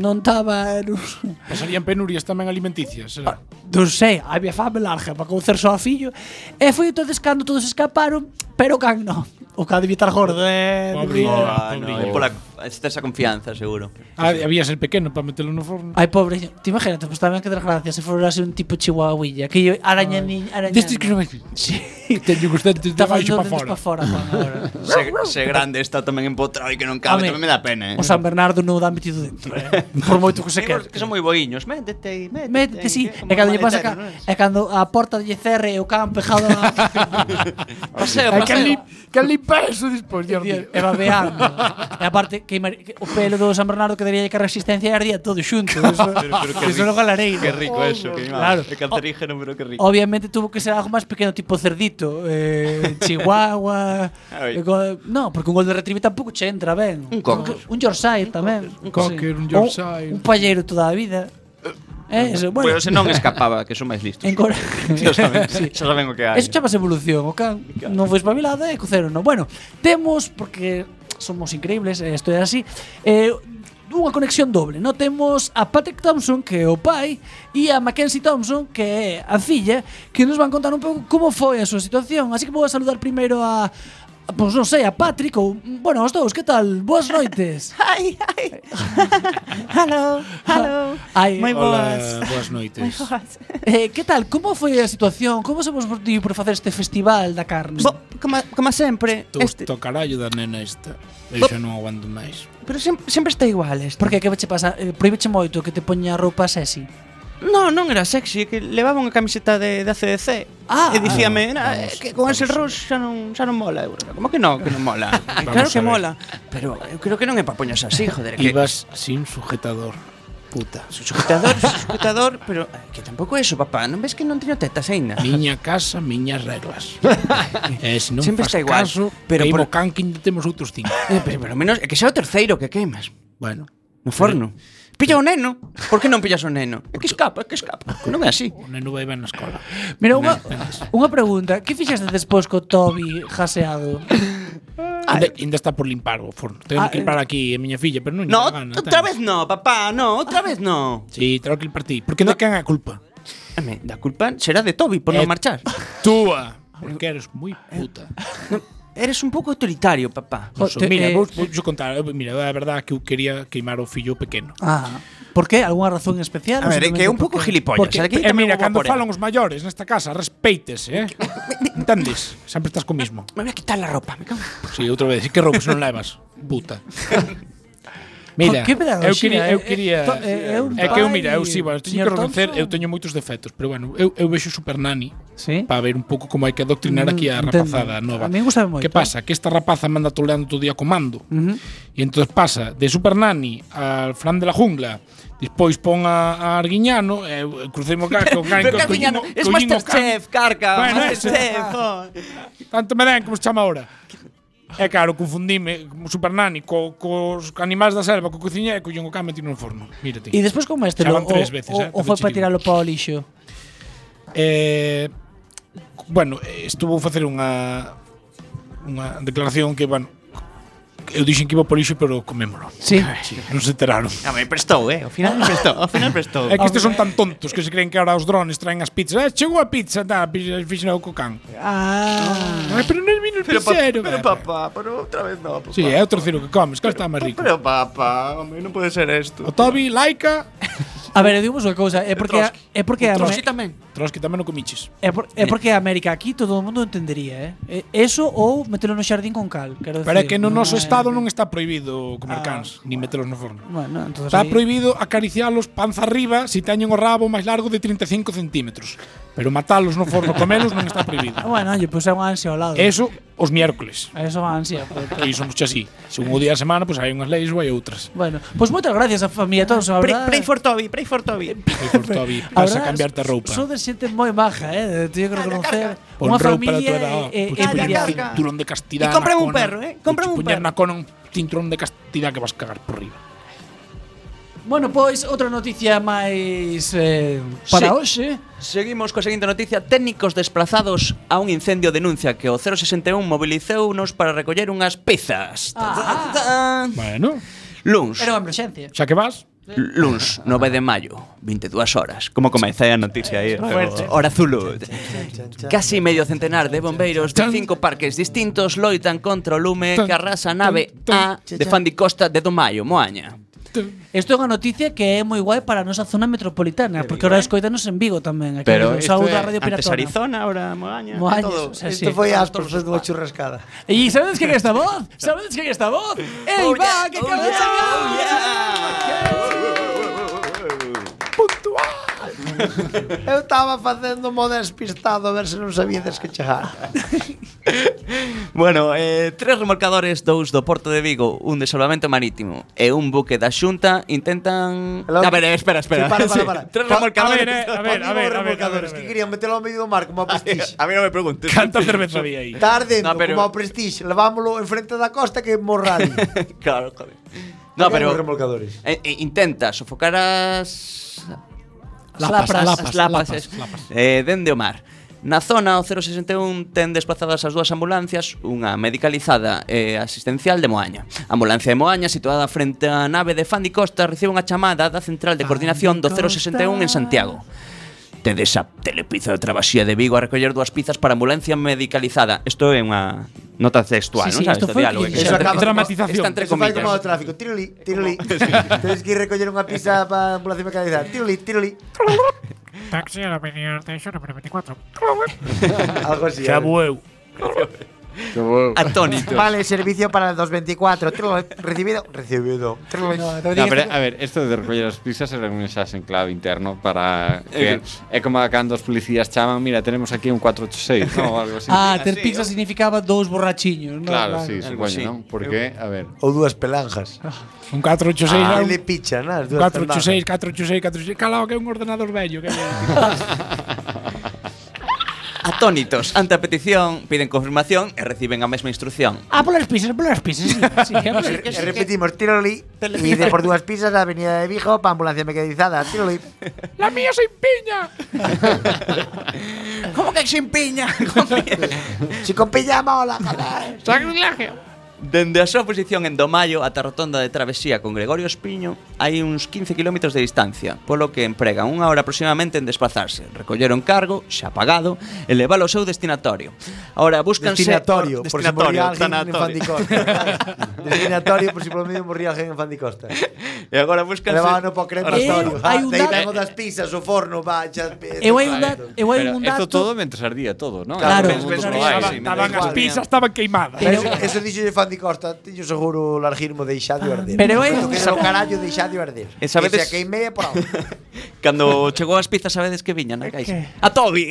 Speaker 1: non estaba en un...
Speaker 6: Pasarían penurias tamén alimenticias. será?
Speaker 1: Non sei, había fame larga para cocer só a fillo. E foi entonces cando todos escaparon, pero o can non. O can debía estar gordo, eh.
Speaker 6: Pobre.
Speaker 10: Oh,
Speaker 1: debía-
Speaker 7: Ah, no,
Speaker 6: Pobre.
Speaker 7: é pola esa confianza, seguro.
Speaker 6: Ah, había ser pequeno para metelo no
Speaker 10: Ah,
Speaker 6: forno.
Speaker 1: Ay, pobre, te imagínate, pues tamén que desgracia se fora así un tipo chihuahuilla, que lle araña ni araña.
Speaker 6: Destes que non hai.
Speaker 1: Sí.
Speaker 6: Teño os dentes de
Speaker 1: Está
Speaker 6: baixo
Speaker 1: facendo
Speaker 6: para
Speaker 1: dentes para
Speaker 6: fora.
Speaker 1: fora, Juan, agora.
Speaker 7: Se, se grande está tamén empotrado e que non cabe,
Speaker 1: Home,
Speaker 7: tamén me dá pena, eh.
Speaker 1: O San Bernardo non o dan metido dentro, eh? Por moito que se
Speaker 7: Sí,
Speaker 1: quere.
Speaker 7: porque son moi boiños. Métete aí, métete.
Speaker 1: Métete,
Speaker 7: aí,
Speaker 1: sí.
Speaker 7: que é como
Speaker 1: E cando lle pasa ca-
Speaker 7: maletero, non
Speaker 1: e
Speaker 7: é?
Speaker 1: cando a porta lle cerre e o can pejado a...
Speaker 7: Paseo,
Speaker 6: Hai que,
Speaker 7: paseo.
Speaker 6: li, que limpar eso despois, Dios mío.
Speaker 1: e babeando. e aparte, que, mar- que o pelo do San Bernardo que daría que resistencia e ardía todo xunto. Eso, eso no galarei.
Speaker 7: Que rico eso, que
Speaker 1: Oh, Claro. Oh,
Speaker 7: É cancerígeno, pero que rico.
Speaker 1: Obviamente tuvo que ser algo más pequeno, tipo cerdito, eh, chihuahua.
Speaker 7: Ay.
Speaker 1: eh, go- no, porque un gol de retriever tampoco che entra ben. Un
Speaker 7: cocker.
Speaker 1: Un Yorkshire tamén.
Speaker 6: Un cocker, un Yorkshire.
Speaker 1: Un, un palleiro toda a vida. Eh, eso, bueno,
Speaker 7: Pero se non escapaba, que son máis listos.
Speaker 1: en Corea.
Speaker 7: Xa saben,
Speaker 1: Sí.
Speaker 7: xa saben o que hai.
Speaker 1: Eso chamase evolución, o can non foi espabilado e cruceron, no. Bueno, temos, porque somos increíbles, eh, isto é así, eh, unha conexión doble, no temos a Patrick Thompson, que é o pai, e a Mackenzie Thompson, que é a filla, que nos van contar un pouco como foi a súa situación. Así que vou a saludar primeiro a, a, pois non sei, a Patrick ou, bueno, os dous, que tal? Boas noites.
Speaker 10: Ai, ai. Hello, hello.
Speaker 1: Ai,
Speaker 10: Moi
Speaker 6: Hola,
Speaker 10: boas.
Speaker 6: boas noites.
Speaker 10: Moi boas.
Speaker 1: Eh, que tal? Como foi a situación? Como se vos motivou por facer este festival da carne?
Speaker 10: Bo, como, como sempre, este,
Speaker 6: Tosto carallo da nena esta. Eu xa non aguanto máis.
Speaker 10: pero sempre, sempre está igual este.
Speaker 1: Porque que che pasa? Eh, proíbeche moito que te poña roupa sexy.
Speaker 10: No, non era sexy, que levaba unha camiseta de, de ACDC.
Speaker 1: Ah.
Speaker 10: e dicíame, "Na,
Speaker 6: vamos,
Speaker 10: eh, que con
Speaker 6: vamos
Speaker 10: ese Rush xa non, xa non mola. Eu, como que non, que non mola? Eh,
Speaker 6: Vamos
Speaker 10: claro
Speaker 6: a
Speaker 10: que
Speaker 6: ver.
Speaker 10: mola, pero eu creo que non é para poñas así, joder. Que,
Speaker 6: Ibas sin sujetador. Puta.
Speaker 10: sujetador, sujetador, pero eh, que tampouco é eso, papá. Non ves que non teño tetas aínda?
Speaker 6: Miña casa, miñas reglas. e se non
Speaker 10: Sempre
Speaker 6: fas
Speaker 10: está igual,
Speaker 6: caso,
Speaker 10: pero
Speaker 6: pero por...
Speaker 10: por-
Speaker 6: can que ainda temos outros cinco.
Speaker 10: Eh, pero pelo menos é que xa o terceiro que queimas
Speaker 6: bueno.
Speaker 10: no forno. Pilla o neno. Por que non pillas o neno? É que escapa, é que escapa. Que non é así.
Speaker 6: O neno vai ben na escola.
Speaker 1: Mira, unha, unha pregunta. Que fixaste despois co Toby jaseado?
Speaker 6: Ainda, ainda está por limpar o forno. Tengo
Speaker 1: Ah,
Speaker 6: que limpar aquí a miña filla, pero non lle
Speaker 10: eh. No,
Speaker 6: dá gana.
Speaker 10: outra
Speaker 6: ten.
Speaker 10: vez no, papá, no, outra vez no.
Speaker 6: Sí, tengo que limpar ti. Porque de quen é a culpa?
Speaker 10: Home, da culpa será de Toby por non
Speaker 6: Eh,
Speaker 10: marchar.
Speaker 6: Túa. Porque eres moi puta.
Speaker 7: Eres un pouco autoritario, papá.
Speaker 1: Jo,
Speaker 6: Oso,
Speaker 1: Eh, te-
Speaker 6: mira,
Speaker 1: eh,
Speaker 6: vou, vou contar, eh, mira, a verdade é que eu quería queimar o fillo pequeno.
Speaker 1: Ah, por qué? Algunha razón especial?
Speaker 10: A ver, é que é un pouco gilipollas.
Speaker 1: Porque-
Speaker 10: aquí
Speaker 6: E
Speaker 10: tamén
Speaker 6: Eh, mira,
Speaker 10: vou a
Speaker 6: cando
Speaker 10: por ela.
Speaker 6: falan os maiores nesta casa, respeítese, eh? Entendes? Sempre estás co mismo.
Speaker 10: Me voy a quitar la ropa, me cago.
Speaker 6: Si, sí, outra vez, que roubos non levas, puta. Mira,
Speaker 1: Jo, que
Speaker 6: eu quería,
Speaker 1: pedagogía,
Speaker 6: eu
Speaker 1: eh,
Speaker 6: quería
Speaker 1: to- eh, é un
Speaker 6: É que eu
Speaker 1: pai,
Speaker 6: mira, eu si, bueno, teño
Speaker 1: señor
Speaker 6: que reconocer,
Speaker 1: Thompson.
Speaker 6: eu teño moitos defectos, pero bueno, eu, eu vexo Super Nani
Speaker 1: Sí.
Speaker 6: para ver un pouco como hai que adoctrinar aquí a
Speaker 1: Mm,
Speaker 6: rapazada
Speaker 1: entendo.
Speaker 6: nova.
Speaker 1: A min gustame moito.
Speaker 6: Que pasa? Que esta rapaza manda toleando todo o día comando. E entón pasa de Super Nani al Fran de la Jungla, despois pon a, a Arguiñano, e eu crucemos cá con Gan,
Speaker 7: Pero Carmiñano, es Masterchef, carca.
Speaker 6: Bueno,
Speaker 7: Masterchef.
Speaker 6: Tanto me den como se chama ahora. É claro, confundime como Super Nani co, cos animais da selva, co cociña e collón o can metido no forno. Mírate.
Speaker 1: E despois como este o,
Speaker 6: Xa van tres veces,
Speaker 1: o,
Speaker 6: eh,
Speaker 1: o foi
Speaker 6: tanto
Speaker 1: para
Speaker 6: chiquillo.
Speaker 1: tiralo para o lixo.
Speaker 6: Eh, bueno, eh, estuvo a facer unha unha declaración que, bueno, eu dixen que iba por iso, pero comémolo.
Speaker 1: Sí.
Speaker 6: Non se enteraron.
Speaker 10: A ver, prestou, eh. Ao final prestou, ao final prestou.
Speaker 6: É que estes son tan tontos que se creen que ahora os drones traen as pizzas. Eh, chegou a pizza, tá, fixen o cocán.
Speaker 1: Ah.
Speaker 6: Ah, pero non vino el
Speaker 10: Pero, pa-
Speaker 6: pizzero.
Speaker 10: pero
Speaker 6: eh.
Speaker 10: papá, pero otra vez no, papá.
Speaker 6: Sí, é o terceiro que comes, que está máis rico.
Speaker 10: Pero papá, hombre, no puede ser esto.
Speaker 6: O Toby, Laika,
Speaker 1: A ver, eu digo unha cousa, é porque a- é porque a,
Speaker 10: Trosqui tamén.
Speaker 6: Trotsky tamén o comiches.
Speaker 1: é, por, é porque a América aquí todo o mundo entendería, eh. E- Eso ou metelo no xardín con cal, quero
Speaker 6: Pero é
Speaker 1: decir,
Speaker 6: que no Ah, noso
Speaker 1: é-
Speaker 6: estado non está prohibido comer cans, ni metelos no forno.
Speaker 1: Bueno, entonces
Speaker 6: Está
Speaker 1: aí-
Speaker 6: prohibido acaricialos panza arriba se teñen o rabo máis largo de 35 centímetros. Pero matalos no forno, comelos non está prohibido.
Speaker 1: Ah, Bueno, lle puse unha ansia ao lado.
Speaker 6: Eso os miércoles.
Speaker 1: A Eso va ansia. pues.
Speaker 6: Que iso mucho así. Se un día a semana, pois pues, hai unhas leis ou hai outras.
Speaker 1: Bueno, pois moitas gracias a familia todos, a
Speaker 10: Pray,
Speaker 1: verdade.
Speaker 10: pray for Toby, pray for Toby.
Speaker 6: E por Toby,
Speaker 1: A
Speaker 6: vas a
Speaker 1: verdade,
Speaker 6: cambiarte a roupa.
Speaker 1: Son Pues, de xente moi maja, eh, teño que reconocer.
Speaker 6: Pon
Speaker 1: Unha
Speaker 6: roupa da
Speaker 1: familia
Speaker 6: tua edad.
Speaker 1: eh,
Speaker 6: Pois poñer
Speaker 1: envidiable.
Speaker 6: un pues, cinturón de castidad.
Speaker 10: E cómprame
Speaker 6: na
Speaker 10: un
Speaker 6: cona,
Speaker 10: perro, eh, cómprame
Speaker 6: pois
Speaker 10: un
Speaker 6: poñer
Speaker 10: perro.
Speaker 6: na cona un cinturón de castidad que vas a cagar por riba.
Speaker 1: Bueno, pois outra noticia máis eh, para
Speaker 7: Sí.
Speaker 1: hoxe.
Speaker 7: Seguimos coa seguinte noticia. Técnicos desplazados a un incendio denuncia que o 061 mobilizounos para recoller unhas pezas. Ah.
Speaker 6: Bueno,
Speaker 7: Luns.
Speaker 1: Era unha emerxencia.
Speaker 6: xa que vas,
Speaker 7: Luns, 9 de maio, 22 horas. Como comecei a noticia aí?
Speaker 1: Fuerte.
Speaker 7: Hora Zulu. Casi medio centenar de bombeiros de cinco parques distintos loitan contra o lume que arrasa a nave A de Fandicosta de Domaio, Moaña.
Speaker 1: Isto é unha noticia que é moi guai para a nosa zona metropolitana, porque ahora escoitanos en Vigo tamén. Aquí o
Speaker 3: Pero isto
Speaker 1: saúdo
Speaker 3: é
Speaker 1: a Radio
Speaker 10: Antes
Speaker 1: Piratona.
Speaker 10: Arizona, ahora Moaña.
Speaker 1: Moañas,
Speaker 10: todo.
Speaker 1: o sea, sí.
Speaker 4: Esto foi aspas, foi unha churrascada.
Speaker 1: E sabedes que é esta voz? Sabedes que é esta voz? Ei,
Speaker 7: Oh,
Speaker 1: va,
Speaker 7: yeah,
Speaker 1: que
Speaker 7: oh,
Speaker 1: acaba de
Speaker 7: yeah,
Speaker 1: chegar!
Speaker 7: oh,
Speaker 4: Eu estaba facendo mo despistado a ver se non sabíades que chegar.
Speaker 7: Bueno, eh, tres remolcadores, dous do Porto de Vigo, un de salvamento marítimo e un buque da Xunta intentan...
Speaker 4: Hello?
Speaker 7: A ver, eh, espera, espera.
Speaker 4: Sí, para, para, para.
Speaker 7: Sí, Tres
Speaker 4: Pa-
Speaker 7: remolcadores.
Speaker 6: a ver, eh, a ver, a ver, Ah, a ver, a ver, a
Speaker 4: remolcadores
Speaker 6: ver.
Speaker 4: que querían metelo ao medio do mar como a prestige.
Speaker 7: A mí non me preguntes.
Speaker 6: canta cerveza había aí.
Speaker 4: Está ardendo
Speaker 7: No, pero-
Speaker 4: como ao prestige. Levámoslo enfrente da costa que morrali.
Speaker 7: claro, joder. No, pero...
Speaker 4: remolcadores.
Speaker 7: Eh, eh, intenta sofocar as
Speaker 1: Lapas,
Speaker 7: as
Speaker 1: lapas,
Speaker 7: lapas, es- eh, dende o mar. Na zona, o 061 ten desplazadas as dúas ambulancias, unha medicalizada e asistencial de Moaña. A ambulancia de Moaña, situada frente á nave de Fandi Costa, recibe unha chamada da central de coordinación do 061 en Santiago. Tedes a Telepizza de Travesía de Vigo a recoller dúas pizas para ambulancia medicalizada. Isto é unha nota textual,
Speaker 1: Sí, sí,
Speaker 7: non sabes?
Speaker 1: isto
Speaker 7: Do
Speaker 1: foi
Speaker 7: diálogo.
Speaker 1: que
Speaker 7: que
Speaker 1: dixo.
Speaker 7: está entre-
Speaker 4: Acaba-
Speaker 6: dramatización.
Speaker 7: Está entre
Speaker 4: Eso fai
Speaker 7: comillas.
Speaker 4: como o tráfico. Tiroli, tiroli. Tens que ir recoller unha pizza para ambulancia mecanizada. Tiroli, tiroli.
Speaker 8: Taxi a la avenida Arteixo número 24.
Speaker 4: Algo así. ¿eh?
Speaker 6: Xa
Speaker 4: a ver.
Speaker 6: vou eu.
Speaker 3: Que bo.
Speaker 7: Atónitos.
Speaker 4: Vale, servicio para el 224. Tiroli, Recibido. Recibido. Tiroli.
Speaker 3: No, pero, a ver, esto de recoller as pizzas era un xas en clave interno para que é como cando os policías chaman, mira, tenemos aquí un 486, no, algo así.
Speaker 1: Ah, ter pizza significaba dous borrachiños, non?
Speaker 3: claro, sí,
Speaker 7: algo
Speaker 3: supoño,
Speaker 7: así.
Speaker 3: non? Porque, a ver,
Speaker 4: Ou dúas pelanjas.
Speaker 6: Un 486
Speaker 4: Ah,
Speaker 6: era un
Speaker 4: Ele picha, nas dúas
Speaker 6: 486, 486, 486. Calao, que é un ordenador vello. Que
Speaker 7: Atónitos, ante a petición, piden confirmación e reciben a mesma instrucción.
Speaker 1: Ah, polas pizzas, polas pizzas. Sí, sí, polas
Speaker 6: pues,
Speaker 4: E repetimos, tiroli. E de por dúas pizzas a avenida de Vigo para ambulancia mecanizada. Tiroli.
Speaker 6: La mía sin piña.
Speaker 7: Como que sin piña?
Speaker 4: Si con pilla mola, joder.
Speaker 6: Sacrilegio.
Speaker 7: Dende a súa posición en Domaio ata a rotonda de travesía con Gregorio Espiño hai uns 15 km de distancia, polo que empregan unha hora aproximadamente en desplazarse, recoller un cargo, xa pagado, e levar ao seu destinatorio. Ahora, búscanse...
Speaker 4: Destinatorio, por si
Speaker 10: Destinatorio,
Speaker 4: morría alguén en
Speaker 10: tanatorio.
Speaker 4: Fandicosta. Destinatorio, por si por medio morría alguén en Fandicosta.
Speaker 7: E agora búscanse...
Speaker 4: Levábano para o crematorio.
Speaker 1: Eh, hai un dato-
Speaker 4: Deitamos das pizzas, o forno, va, xa...
Speaker 1: Eu hai un, da- eu hai
Speaker 3: Pero
Speaker 1: un
Speaker 3: esto
Speaker 1: dato.
Speaker 3: todo mientras ardía todo, ¿no?
Speaker 1: Claro,
Speaker 3: Todo el mundo
Speaker 1: claro.
Speaker 3: lo hay,
Speaker 6: Estaban-
Speaker 3: sí, me da
Speaker 6: estaban
Speaker 3: igual.
Speaker 6: as pizzas, estaban queimadas.
Speaker 1: Pero-
Speaker 4: Eso, eso dixo Fandi Costa, teño seguro o larguismo deixado arder.
Speaker 1: Pero é
Speaker 4: Lo
Speaker 1: Ah, un-
Speaker 4: que era o carallo deixado arder.
Speaker 7: Esa
Speaker 4: Que Se a
Speaker 7: veces-
Speaker 4: queimei é por algo.
Speaker 7: Cando chegou as pizzas, sabedes que viñan na caixa? A Toby!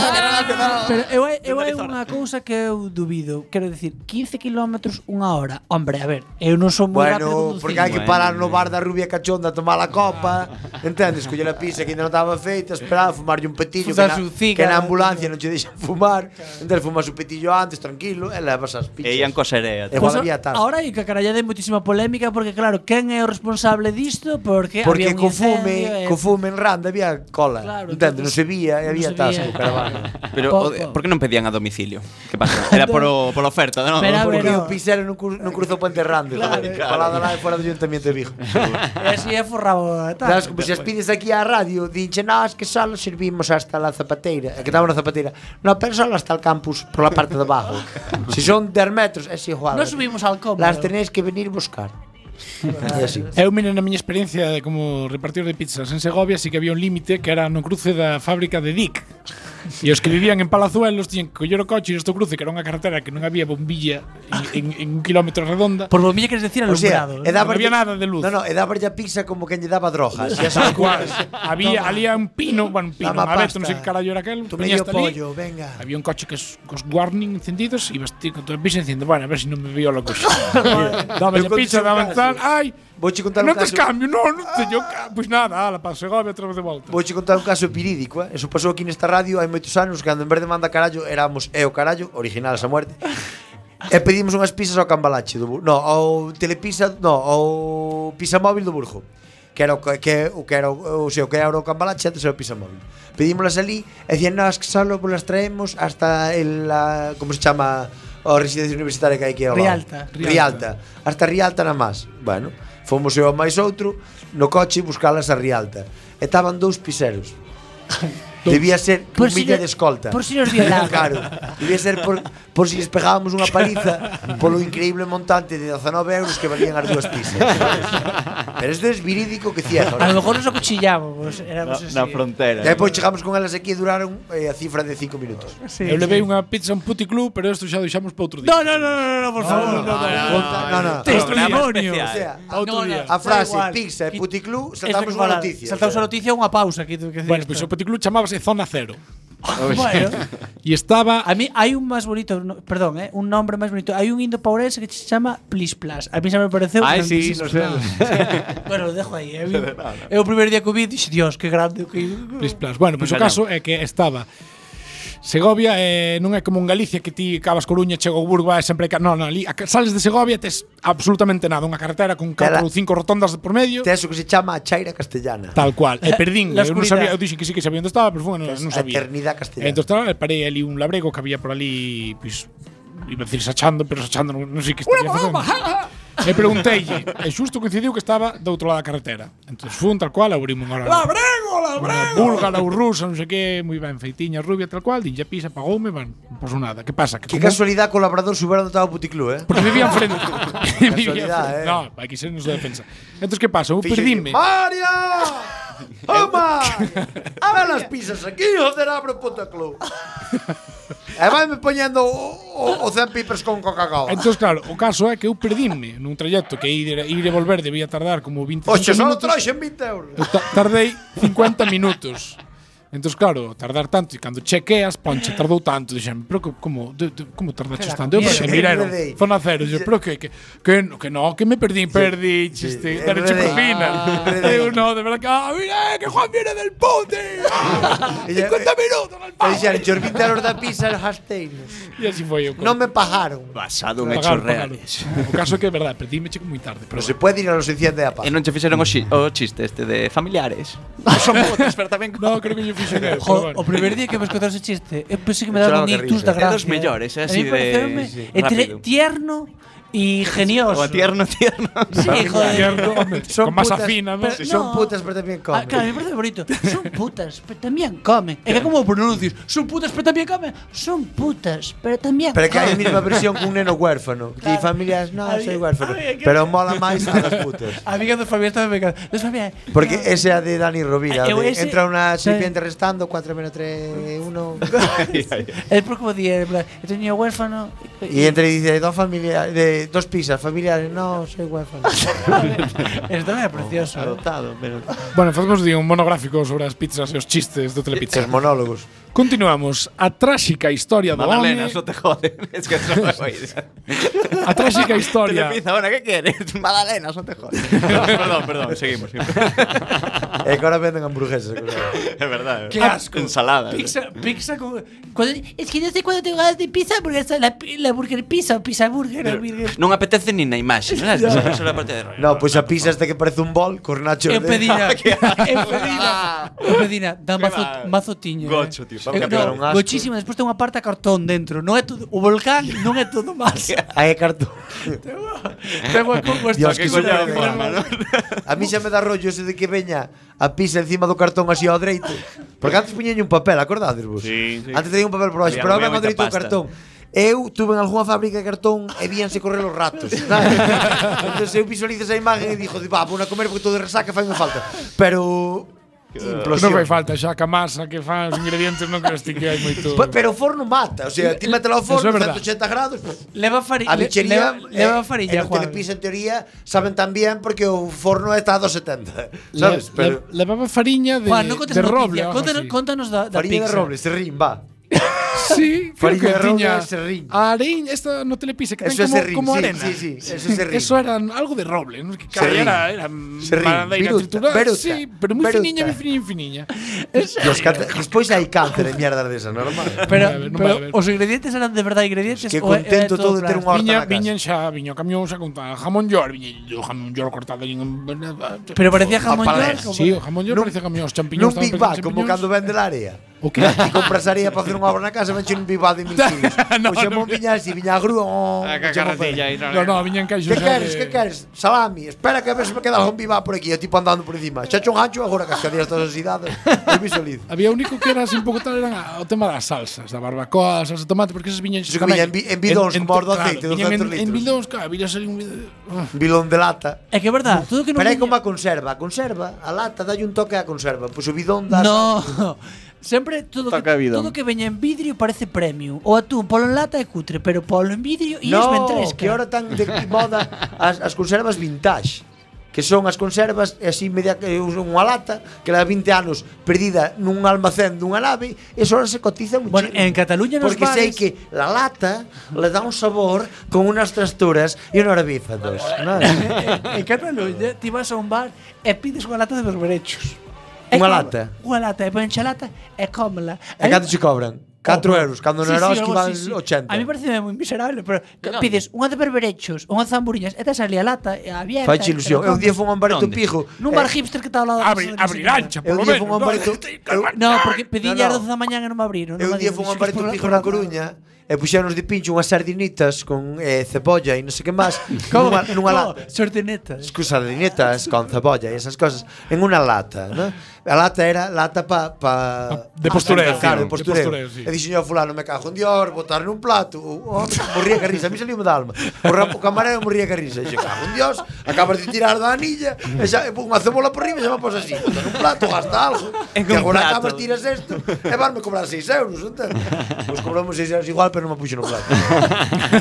Speaker 7: Ah,
Speaker 1: Pero eu, hai- eu hai unha cousa que eu dubido. Quero dicir, 15 kilómetros unha hora. Hombre, a ver, eu non son moi
Speaker 4: Bueno,
Speaker 1: rápido conducindo.
Speaker 4: porque hai que
Speaker 7: Bueno,
Speaker 4: parar no bar da rubia cachonda a tomar a copa, entendes? Coller a pizza que ainda non estaba feita, esperar, fumarlle un petillo que
Speaker 1: Fumar
Speaker 4: na,
Speaker 1: su
Speaker 4: que
Speaker 1: cigarro.
Speaker 4: na ambulancia non che deixan fumar, entonces fumas o petillo antes, tranquilo, e levas as pizzas.
Speaker 7: E ian co serea.
Speaker 4: Igual había tarde.
Speaker 1: Ahora hai que carallade moitísima polémica porque claro, quen é o responsable disto? Porque
Speaker 4: Porque
Speaker 1: había Eh, un
Speaker 4: co
Speaker 1: incendio
Speaker 4: fume,
Speaker 1: e-
Speaker 4: co fume en Randa había cola,
Speaker 1: Claro,
Speaker 4: entendes? Non
Speaker 1: entonces-
Speaker 4: se vía, e
Speaker 1: non
Speaker 4: había
Speaker 1: se
Speaker 4: tasco,
Speaker 1: vía.
Speaker 4: caravana.
Speaker 7: Pero,
Speaker 1: Pouco.
Speaker 7: o- por que non pedían a domicilio? Que pasa? Era por, o, por oferta, non?
Speaker 1: Pero, a ver,
Speaker 4: Porque
Speaker 1: Pero-
Speaker 4: o Picero non, cru, non cruzou Puente Rande,
Speaker 1: Claro,
Speaker 4: claro, joder, palada lá e fora do Ayuntamiento de Vigo.
Speaker 1: E así é forrado e eh, tal.
Speaker 4: Sabes, como se as pides aquí á radio, dinche, nós que só servimos hasta la zapateira, e que estaba na zapateira. No, pero só hasta el campus, por la parte de abajo. si son 10 metros, é si igual.
Speaker 1: Non subimos al cómodo.
Speaker 4: Las tenéis que venir buscar. e así.
Speaker 6: Eu mira na miña experiencia de como repartir de pizzas en Segovia, sí que había un límite que era no cruce da fábrica de Dick. E os que vivían en Palazuelos tiñan que coller o coche e este cruce, que era unha carretera que non había bombilla en, en, en un kilómetro redonda.
Speaker 1: Por bombilla queres decir
Speaker 4: O sea, e
Speaker 1: alumbrado. ¿no?
Speaker 4: dáballe-
Speaker 6: había nada de luz.
Speaker 4: No, no, e dáballe a pizza como que lle daba drogas. E
Speaker 6: Tal cual. había, había un pino, bueno, un pino,
Speaker 4: Dama
Speaker 6: a veces non
Speaker 4: pasta.
Speaker 6: sei que carallo era aquel.
Speaker 4: Tu
Speaker 6: poñías
Speaker 4: medio
Speaker 6: talí,
Speaker 4: pollo, venga.
Speaker 6: Había un coche que es, cos warning encendidos e vas ti con tu pizza dicindo, bueno, a ver se non me viola o coche. Dame a
Speaker 4: Eu
Speaker 6: pizza,
Speaker 4: conto un
Speaker 6: dame
Speaker 4: caso.
Speaker 6: tal, ai,
Speaker 4: Vouche contar un
Speaker 6: non tes
Speaker 4: caso.
Speaker 6: cambio, non, non teño ca- Pois nada, ala, pa Segovia outra vez de volta.
Speaker 4: Vouche contar un caso pirídico, eh? Eso pasou aquí nesta radio hai moitos anos, cando en vez de manda carallo éramos e o carallo, originales a muerte. e pedimos unhas pizzas ao cambalache do Bur- no, ao telepizza, no, ao pizza móvil do Burjo. Que era o que, que o que era o, o, sea, o que era o cambalache antes era o pizza móvil. Pedímoslas ali e dicían, "Nós que solo vos las traemos hasta el la, como se chama, a residencia universitaria que hai aquí ao lado".
Speaker 1: Rialta.
Speaker 4: Rialta. Hasta Rialta nada máis. Bueno, fomos eu a máis outro no coche buscalas a Rialta. E estaban dous piseros. Debía ser
Speaker 1: Por
Speaker 4: por
Speaker 1: si
Speaker 4: milla
Speaker 1: le-
Speaker 4: de escolta.
Speaker 1: por si nos violaban.
Speaker 4: Claro. Debía ser por, por si les pegábamos unha paliza polo increíble montante de 19 euros que valían as dúas pizzas. Pero isto é virídico que cierra.
Speaker 1: A lo mejor nos acuchillábamos, éramos así.
Speaker 7: Na frontera.
Speaker 4: E aí, pois, chegamos con elas aquí e duraron eh, a cifra de 5 minutos.
Speaker 1: Sí,
Speaker 6: eu
Speaker 1: sí.
Speaker 6: levei unha pizza a un puticlub, pero isto xa o deixamos para outro día.
Speaker 1: No, no, no, no, no, por favor. No, no,
Speaker 4: no, no.
Speaker 1: Testimonio.
Speaker 4: O sea,
Speaker 6: Pa outro
Speaker 1: No, no,
Speaker 6: día.
Speaker 4: a frase
Speaker 1: igual.
Speaker 4: pizza e
Speaker 1: Qui-
Speaker 4: puticlú,
Speaker 1: Esto
Speaker 4: saltamos
Speaker 1: que
Speaker 4: unha
Speaker 1: mola.
Speaker 4: noticia.
Speaker 1: Saltamos
Speaker 4: o
Speaker 1: unha
Speaker 4: sea.
Speaker 1: noticia, unha pausa que tuve que decir
Speaker 6: Bueno,
Speaker 1: isto.
Speaker 6: pois o puticlub chamábase Zona Cero.
Speaker 1: Bueno,
Speaker 6: E estaba
Speaker 1: a mí hai un máis bonito, no- perdón, eh, un nombre máis bonito. Hai un indo paurense que se chama Plis Plas. A mí xa me pareceu
Speaker 3: Ay, sí,
Speaker 1: grandísimo.
Speaker 3: no sé.
Speaker 1: Bueno, o dejo eh. aí. Eu, eu o primeiro día que o vi, dixo, Dios, que
Speaker 4: Mm.
Speaker 1: grande. Que...
Speaker 6: Plis Plas. Bueno, pois o caso é que estaba Segovia eh, non é como en Galicia que ti cavas Coruña, chego Burgo, e sempre hai ca- non, non, ali a ca- sales de Segovia tes absolutamente nada, unha carretera con
Speaker 4: Tela.
Speaker 6: 4 ou 5 rotondas por medio.
Speaker 4: Tes o que se chama a chaira castellana.
Speaker 6: Tal cual. E perdín,
Speaker 1: Eh, La
Speaker 6: eu non
Speaker 1: oscuridad.
Speaker 6: sabía, eu dixen que sí que sabía onde estaba, pero bueno, non, non
Speaker 4: a
Speaker 6: sabía.
Speaker 4: eternidade castellana.
Speaker 6: Entón estaba, parei ali un labrego que había por ali, pois, iba a decir sachando, pero sachando non, non sei que estaría facendo. E pregunteille, e xusto coincidiu que estaba do outro lado da carretera. Entón fun tal cual, abrimos unha hora.
Speaker 1: Labrego,
Speaker 6: Unha búlgara ou rusa, non sei que, moi ben feitiña, rubia, tal cual, dinlle pisa, pagoume, ben, non pasou nada. Que pasa? Que
Speaker 4: Que
Speaker 6: como-
Speaker 4: casualidade co Labrador subera onde estaba o puticlú, eh?
Speaker 6: Porque vivía enfrente. vivía
Speaker 4: Casualidade,
Speaker 6: enfrente.
Speaker 4: eh. ah,
Speaker 6: No, hai que ser nos da defensa. Entón, que pasa? Eu
Speaker 4: Fixo
Speaker 6: perdíme.
Speaker 4: que, ¡Mario! ¡Oma! ¡Abre las pizzas aquí, joder, abre o puto club! e vai me poñendo o, o, o Zen Pipers con Coca-Cola.
Speaker 6: Entón, claro, o caso é que eu perdíme nun trayecto que ir, ir e volver debía tardar como 25
Speaker 4: Oxe, só
Speaker 6: minutos.
Speaker 4: trouxen 20 euros.
Speaker 6: Eu ta- tardei 50 minutos. Entón, claro, tardar tanto e cando chequeas, ponche, tardou tanto, dixen, pero co- como, de, de, como tardaches tanto? Eu
Speaker 1: mierda.
Speaker 6: pensei, miraron,
Speaker 4: Enredei.
Speaker 6: zona cero, yo, pero que, que, que, no, que no, que me perdí, perdí, chiste,
Speaker 4: sí, Ah,
Speaker 6: dareche
Speaker 4: enredei.
Speaker 6: propina.
Speaker 4: Enredei.
Speaker 6: Eu no, de verdad, que, ah, mira, eh, que Juan viene del pute, ah,
Speaker 4: E ya-
Speaker 6: 50 minutos, al
Speaker 4: E
Speaker 6: pavo.
Speaker 4: dixeron, xos 20 euros da pizza nos hasteinos.
Speaker 6: E así foi eu.
Speaker 4: Non me pagaron.
Speaker 7: Basado en hechos
Speaker 6: Pagaron, pagaron.
Speaker 7: reales.
Speaker 6: O caso é que é verdade, perdíme checo moi tarde,
Speaker 4: Non
Speaker 6: pero
Speaker 4: se pode ir a los enciende a paz.
Speaker 7: E non che fixeron o, xi- o chiste este de familiares. Non son botes, pero tamén...
Speaker 6: bueno. No, creo que yo fixen eu. pero
Speaker 1: Jo,
Speaker 6: bueno.
Speaker 1: o primer día que me escoitaron ese chiste, eu pensei que me
Speaker 4: Choraba
Speaker 1: daban un
Speaker 4: que
Speaker 1: ictus
Speaker 4: risa.
Speaker 1: da
Speaker 7: É
Speaker 1: gracia.
Speaker 7: dos mellores,
Speaker 1: A
Speaker 7: é así
Speaker 1: mí
Speaker 7: de-
Speaker 1: pareceume
Speaker 7: sí,
Speaker 1: entre
Speaker 7: rápido.
Speaker 1: tierno ingenioso.
Speaker 10: O tierno, tierno.
Speaker 1: Sí, joder.
Speaker 4: Son
Speaker 6: Con masa
Speaker 4: putas,
Speaker 6: fina, ¿no?
Speaker 1: pero
Speaker 4: Sí, Son
Speaker 1: no.
Speaker 4: putas, pero también comen.
Speaker 1: Ah, claro, me parece bonito. Son putas, pero también comen. Es que como pronuncias, son putas, pero también comen. Son putas, pero también
Speaker 4: Pero que hai a
Speaker 1: comen.
Speaker 4: mesma versión cun neno huérfano. Que di familias, non, soy
Speaker 1: Había-
Speaker 4: huérfano.
Speaker 1: había que-
Speaker 4: Pero mola máis a das putas.
Speaker 1: Amiga de Fabián está me encanta. Los Fabián.
Speaker 4: Porque esa é a de Dani Rovira.
Speaker 1: Eu
Speaker 4: de
Speaker 1: ese-
Speaker 4: entra unha
Speaker 1: Sí.
Speaker 4: serpiente restando, 4 menos 3, 1...
Speaker 1: Es por como día, en plan, he tenido huérfano.
Speaker 4: E entra e dice, dos familiares, de dos pizzas familiares, non, soy huérfano.
Speaker 1: Esto también es precioso. eh.
Speaker 4: Adoptado, pero...
Speaker 6: Bueno, facemos di, un monográfico sobre as pizzas e os chistes do Telepizza.
Speaker 4: Os monólogos.
Speaker 6: Continuamos. A tráxica historia do
Speaker 10: Madalena,
Speaker 6: home.
Speaker 10: eso te jode. Es que eso no voy a ir.
Speaker 6: A tráxica historia.
Speaker 10: Telepizza, ahora, ¿qué quieres? Madalena, eso te jode. perdón, perdón, seguimos.
Speaker 4: e que ahora venden hamburguesas. claro.
Speaker 10: Es verdad.
Speaker 1: Qué asco.
Speaker 10: Ensalada.
Speaker 1: Pizza, pizza con. cuando- es que no sé cuándo tengo ganas de pizza porque está la, pi- la burger pizza o pizza burger. o burger.
Speaker 10: Non apetece nin na imaxe, non? Esa é a parte de rollo.
Speaker 4: No, pois pues a pizza esta que parece un bol, cos nachos
Speaker 1: En
Speaker 4: dentro.
Speaker 1: Pedina.
Speaker 10: qué
Speaker 1: En
Speaker 4: Ah.
Speaker 1: Pedina. En Pedina. Da mazo,
Speaker 10: va.
Speaker 1: mazo tiño. eh.
Speaker 10: Gocho, tío, para
Speaker 1: Eh,
Speaker 10: que pegar
Speaker 4: un asco.
Speaker 1: Gochísima. Despois ten unha parte a cartón dentro. Non é todo, o volcán non é todo más.
Speaker 4: Aí é cartón.
Speaker 1: ten unha como
Speaker 4: Dios, que
Speaker 1: super-
Speaker 4: coñado, A mí xa me dá rollo ese de que veña a pizza encima do cartón así ao dreito. Porque antes puñeñe un papel, acordades vos?
Speaker 10: Sí, sí.
Speaker 4: Antes teñía un papel por baixo,
Speaker 10: Había-
Speaker 4: pero
Speaker 10: había
Speaker 4: agora ven ao
Speaker 10: moita
Speaker 4: dreito do
Speaker 10: pasta.
Speaker 4: cartón. Eu tuve en algunha fábrica de cartón e víanse correr os ratos. Entón eu visualizo esa imagen e dixo, "Va, vou a comer porque todo de resaca fai unha falta." Pero
Speaker 6: Non
Speaker 4: implosión.
Speaker 6: fai falta xa que a masa que fan os ingredientes non crees ti que hai moito.
Speaker 4: Pa- pero o forno mata, o sea, ti mételo ao
Speaker 6: Eso
Speaker 4: forno
Speaker 6: é verdad.
Speaker 4: 180 grados. pues,
Speaker 1: Leva farilla.
Speaker 4: A bichería
Speaker 1: leva, leva
Speaker 4: eh,
Speaker 1: farilla, Juan.
Speaker 4: Juan. Telepisa, en teoría, saben tan bien porque o forno está a 270. Sabes?
Speaker 6: Le-
Speaker 4: pero
Speaker 6: le- levaba fariña de,
Speaker 1: Juan, non contes
Speaker 6: de
Speaker 1: noticia,
Speaker 6: roble. algo
Speaker 1: Contanos,
Speaker 6: así.
Speaker 1: contanos da, da
Speaker 4: Farinha
Speaker 1: pizza.
Speaker 4: de Robles, se rin, va.
Speaker 6: Sí, creo
Speaker 4: Farinha
Speaker 6: que
Speaker 4: de roble
Speaker 6: tiña
Speaker 4: e serrín.
Speaker 6: a areña, esta no te le pise, que ten
Speaker 4: Eso es
Speaker 6: como,
Speaker 4: serrín,
Speaker 6: como
Speaker 4: sí,
Speaker 6: arena.
Speaker 4: sí, sí, eso es serrín.
Speaker 6: Eso era algo de roble, ¿no? Es Que
Speaker 4: Serrín.
Speaker 6: era, era
Speaker 4: Serrín,
Speaker 6: madeira
Speaker 4: viruta,
Speaker 6: triturada,
Speaker 4: veruta,
Speaker 6: sí, pero muy
Speaker 4: veruta.
Speaker 6: finiña, muy finiña, finiña.
Speaker 4: Los cáncer- Despois hai cáncer e mierdas desa, normal.
Speaker 1: Pero,
Speaker 6: Non vai haber, non
Speaker 1: pero
Speaker 6: vai haber.
Speaker 1: os ingredientes eran de verdade ingredientes.
Speaker 4: Que
Speaker 1: ou é-
Speaker 4: contento
Speaker 1: é
Speaker 4: todo de ter
Speaker 1: plástico?
Speaker 4: unha horta
Speaker 6: Viña,
Speaker 4: na casa.
Speaker 6: viña xa, viña o camión xa con tal jamón york, viña o jamón york cortado en
Speaker 1: Pero parecía jamón
Speaker 4: palés.
Speaker 1: york.
Speaker 6: Sí, o jamón york
Speaker 4: Nun-
Speaker 6: parece camión, os champiñóns
Speaker 4: Nun
Speaker 6: estaban
Speaker 4: Big Bag,
Speaker 6: pequenos
Speaker 4: como
Speaker 6: champiñóns.
Speaker 4: cando vende a área.
Speaker 6: O que?
Speaker 4: Ti compras areia para facer unha obra na casa, venche un Big Bag de mil kilos.
Speaker 6: No,
Speaker 4: O xamón
Speaker 6: no.
Speaker 4: viña así, viña a grúa. oh,
Speaker 6: Ah,
Speaker 4: o
Speaker 3: A
Speaker 4: xamón
Speaker 3: cacarratilla
Speaker 4: pera.
Speaker 3: aí,
Speaker 6: No, no, viña en caixo.
Speaker 4: Que queres, que queres? Salami, espera que a ver se me queda algún Big Bag por aquí. O tipo andando por encima. Xa un ancho agora que as cadías todas oxidadas. Eu visualizo.
Speaker 6: Había único que era así un pouco tal eran a- o tema das salsas, da barbacoa, a salsa de tomate, porque esas viñan
Speaker 4: Sí, que viñan vi- en bidóns, como os do aceite,
Speaker 6: claro, viñan
Speaker 4: 200
Speaker 6: en, en
Speaker 4: litros.
Speaker 6: bidóns, claro, viña salir un bidón. Ah,
Speaker 4: Bilón de lata.
Speaker 1: É que é verdade. Todo que non
Speaker 4: Pero hai
Speaker 1: viña-
Speaker 4: como a conserva. A conserva, a lata, dalle un toque á conserva. Pois o bidón da...
Speaker 1: No. Sempre todo
Speaker 3: Toca
Speaker 1: que,
Speaker 3: bidón.
Speaker 1: todo que veña en vidrio parece premium. O atún polo en lata é cutre, pero polo en vidrio e es ben tresca.
Speaker 4: que ahora tan de moda as, as conservas vintage que son as conservas e así media que usan unha lata que leva 20 anos perdida nun almacén dunha nave e eso ahora se cotiza mucho.
Speaker 1: Bueno, en Cataluña nos
Speaker 4: porque sei
Speaker 1: bares-
Speaker 4: que la lata le dá un sabor con unas trasturas e un orbífados, non?
Speaker 1: Eh, en Cataluña ti vas a un bar e pides unha lata de berberechos.
Speaker 4: Unha
Speaker 1: como-
Speaker 4: lata?
Speaker 1: Unha lata, e ponche a lata e cómela.
Speaker 4: E cando che cobran? 4 euros, cando no Eroski van 80.
Speaker 1: A mí parece moi miserable, pero pides unha de berberechos, unha de zamburiñas, e te sale a lata e abierta.
Speaker 4: Faiche ilusión. Eu un día fun a un bareto
Speaker 10: Onde?
Speaker 4: pijo.
Speaker 1: Nun bar
Speaker 4: eh,
Speaker 1: hipster que está ao lado da casa
Speaker 6: Abre,
Speaker 1: de
Speaker 6: abre
Speaker 1: Casimira.
Speaker 6: lancha, por
Speaker 4: Eu
Speaker 6: lo
Speaker 4: día
Speaker 6: menos.
Speaker 4: fun a un bareto. eu-
Speaker 1: No, porque pedí
Speaker 4: Ah, No,
Speaker 1: no,
Speaker 4: no.
Speaker 1: no. 12 da mañá e non me abriron.
Speaker 4: Eu un día fun a un bareto pijo na Coruña e puxeron de pincho unhas sardinitas con eh, cebolla e non sei que máis nunha, nunha
Speaker 1: Oh,
Speaker 4: lata.
Speaker 1: Sortenetas.
Speaker 4: Excusa, sardinitas con cebolla e esas cosas en unha lata, ¿no? A lata era lata pa, pa
Speaker 6: de postureo.
Speaker 4: Claro, de
Speaker 6: De
Speaker 4: postureo.
Speaker 6: postureo, sí.
Speaker 4: E dixen yo a fulano, me cago en Dios, botar nun plato. Oh, morría que risa, a mí saliu da alma. O, rap, o camarero morría que risa. Dixe, cago en Dios, acabas de tirar da anilla, e xa, e pon unha cebola por riba e xa me pos así. Botar un plato, gasta algo.
Speaker 10: É
Speaker 4: Que
Speaker 10: un
Speaker 4: agora
Speaker 10: plato.
Speaker 4: acabas, tiras isto, e varme cobrar 6 euros, entende? Pois cobramos 6 euros igual, pero non me puxo no plato.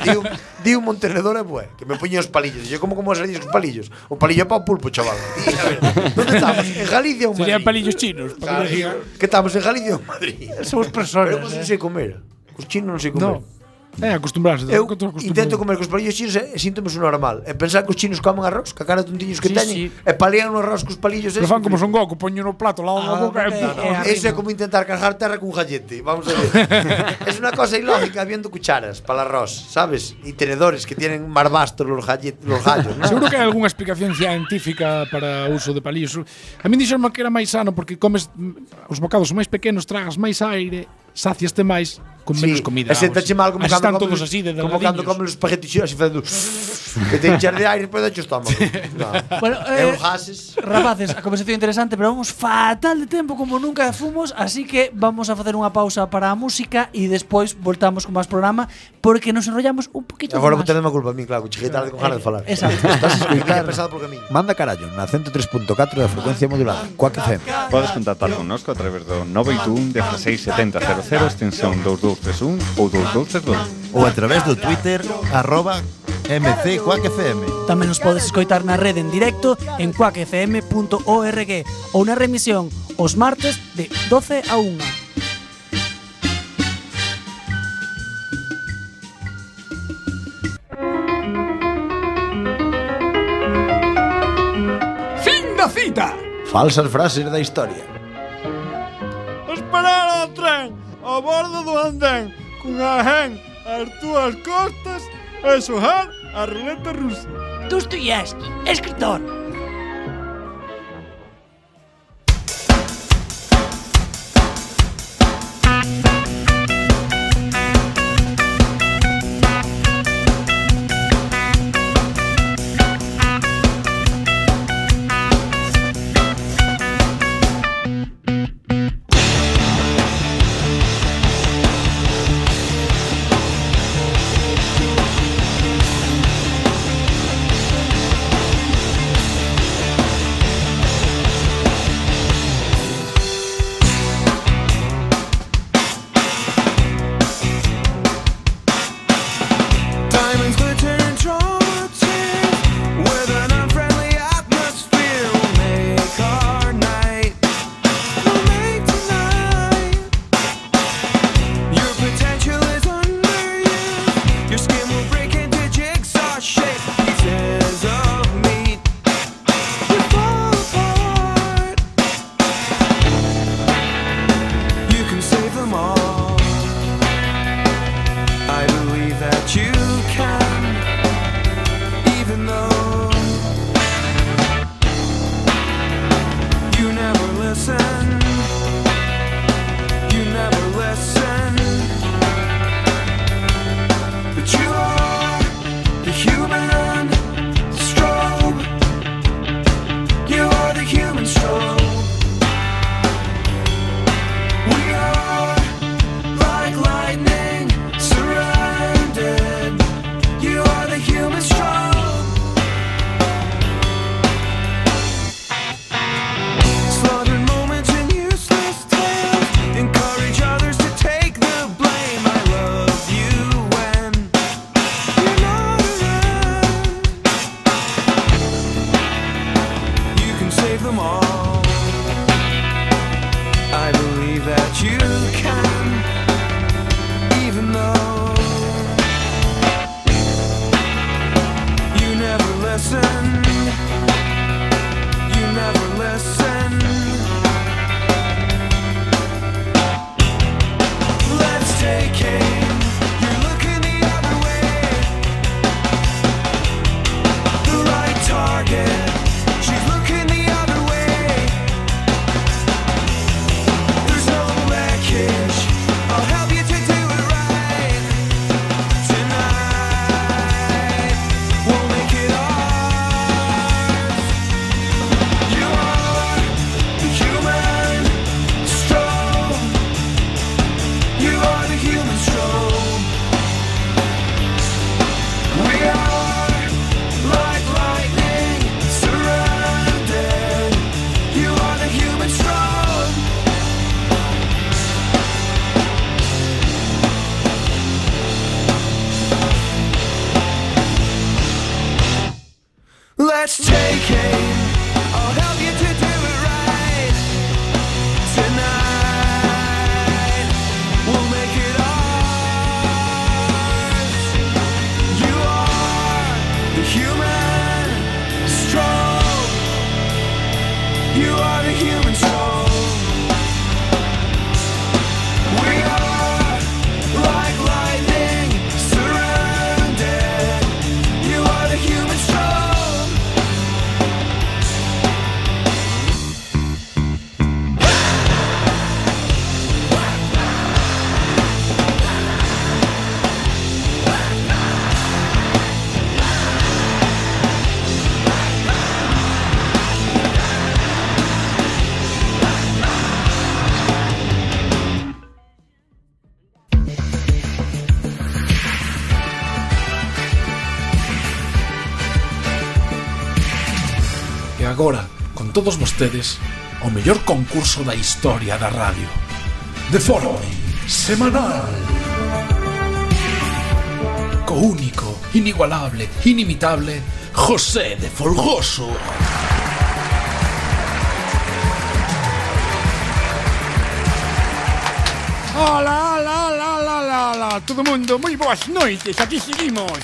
Speaker 4: di, un, di un montenedor e bué, que me puñe os palillos. E yo como como as sardinhas con palillos? O palillo é pa o pulpo, chaval. Di, a ver, onde estamos? En Galicia ou en
Speaker 6: Serían
Speaker 4: Madrid?
Speaker 6: palillos chinos. para
Speaker 4: Claro,
Speaker 6: que digan.
Speaker 4: Que estamos en Galicia ou en Madrid?
Speaker 1: Somos personas.
Speaker 4: Pero vos non sei comer. Os chinos non sei comer.
Speaker 6: eh. No. É Eh, acostumbrarse.
Speaker 4: Eu
Speaker 6: tampouco estou acostumbrado.
Speaker 4: intento comer cos palillos chinos e síntome un normal. E pensar que os chinos comen arroz, que a cara de tontiños que
Speaker 1: Sí,
Speaker 4: teñen,
Speaker 1: sí.
Speaker 4: e palean o arroz cos palillos.
Speaker 6: Pero
Speaker 4: eses,
Speaker 6: fan como
Speaker 4: flipo.
Speaker 6: son goco, poño no plato lá
Speaker 1: Ah,
Speaker 6: na boca.
Speaker 1: vale, eh, a-
Speaker 6: e-
Speaker 4: Eso é como intentar cargar terra cun gallete, vamos a ver. es una cosa ilógica habiendo cucharas para el arroz, ¿sabes? Y tenedores que tienen más vastos los, gallet- los gallos, ¿no?
Speaker 6: Seguro que hai algunha explicación científica para o uso de palillos. A min dixeronme que era máis sano porque comes mm, os bocados máis pequenos, tragas máis aire, saciaste máis con menos comida.
Speaker 4: E sentache mal como
Speaker 6: Así
Speaker 4: cando
Speaker 6: están
Speaker 4: comes-
Speaker 6: todos así de
Speaker 4: Como cando
Speaker 6: delgadiños.
Speaker 4: comes os espaguetis así facendo que te hinchas de aire pois dache o estómago. No.
Speaker 1: Bueno,
Speaker 4: E
Speaker 1: eh,
Speaker 4: os gases.
Speaker 1: Rapaces, a conversación interesante, pero vamos fatal de tempo como nunca fomos, así que vamos a facer unha pausa para a música e despois voltamos con máis programa porque nos enrollamos un poquito
Speaker 4: Agora vou
Speaker 1: máis.
Speaker 4: tener má culpa a mí, claro, que cheguei tarde con ganas de falar.
Speaker 1: Eh, Exacto.
Speaker 4: Estás escuchando pesado polo camiño. Manda carallo na 103.4 da frecuencia modulada. Coa que FM.
Speaker 9: Podes contactar connosco a través do 921 167000 extensión 2231 ou 2232.
Speaker 2: ou a través do Twitter arroba MC FM.
Speaker 1: Tamén nos podes escoitar na rede en directo en cuacfm.org ou na remisión os martes de 12 a 1.
Speaker 5: Fin da cita.
Speaker 4: Falsas frases da historia.
Speaker 5: Esperar ao tren a bordo do andén cunha gen ás túas costas e xojar a ruleta rusa.
Speaker 1: Dostoyevsky, escritor.
Speaker 5: Diamonds glitter and torches with an unfriendly atmosphere will make our night. We'll make tonight. Your potential is underused. Your skin will break into jigsaw shape pieces of meat. You fall apart. You can save them all. I believe that you can, even though you never listen. You never listen. But you are the human strobe. You are the human strobe. We are like lightning surrounded. You are the human stroke. Slaughtered moments in agora, con todos vostedes, o mellor concurso da historia da radio. De forma semanal. Co único, inigualable, inimitable, José de Folgoso.
Speaker 6: Hola, hola, hola, hola, hola, hola, todo mundo, moi boas noites, aquí seguimos.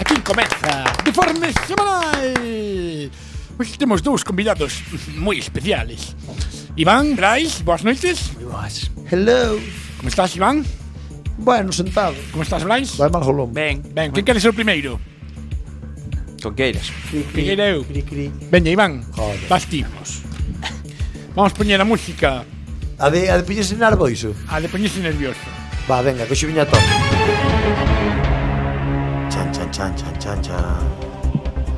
Speaker 6: Aquí comeza Deforme Semanal. Hoxe temos dous convidados moi especiales. Iván, Brais, boas noites. Moi boas. Hello. Como estás, Iván? Bueno, sentado. Como estás, Brais? Vai mal jolón. Ben, ben, que queres ser o primeiro?
Speaker 7: Con que eres?
Speaker 6: Que quero eu? Veña, Iván, vas ti. Vamos poñer a música. A de, a de poñerse nervioso. A de poñerse nervioso.
Speaker 4: Va, venga, que xubiña top. Chan, chan, chan, chan, chan, chan.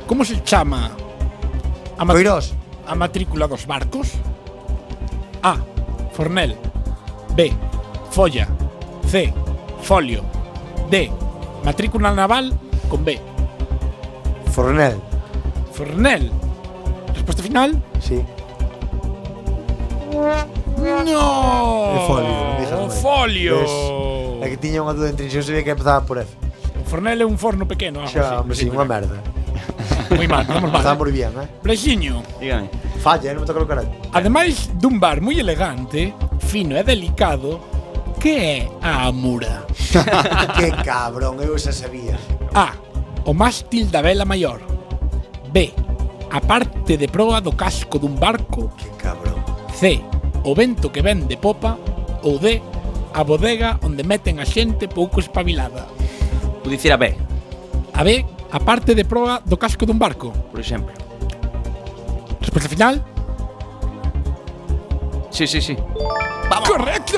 Speaker 6: Como se chama? A mat- A matrícula dos barcos? A. Fornel. B. Folla. C. Folio. D. Matrícula naval con B.
Speaker 4: Fornel.
Speaker 6: Fornel. Resposta final?
Speaker 4: Sí.
Speaker 6: No.
Speaker 4: É folio,
Speaker 6: O folio.
Speaker 4: Ves? É que tiña unha dúa entre eu sabía que empezaba por F.
Speaker 6: O Fornel é un forno pequeno, algo
Speaker 4: Xa, hombre, sí, unha merda.
Speaker 6: Moi mal, vamos mal.
Speaker 4: Estamos bien, eh?
Speaker 6: Brexiño.
Speaker 7: Dígame.
Speaker 4: Falla, eh, non me toca o carallo.
Speaker 6: Ademais dun bar moi elegante, fino e delicado, que é a Amura?
Speaker 4: que cabrón, eu xa sabía.
Speaker 6: A. O mástil da vela maior. B. A parte de proa do casco dun barco. Que
Speaker 4: cabrón.
Speaker 6: C. O vento que ven de popa. Ou D. A bodega onde meten a xente pouco espabilada.
Speaker 7: Vou dicir a B,
Speaker 6: A B. A parte de proa do casco dun barco.
Speaker 7: por exemplo.
Speaker 6: Resposta final.
Speaker 7: Sí, sí, sí.
Speaker 6: ¡Vamos! ¡Correcto!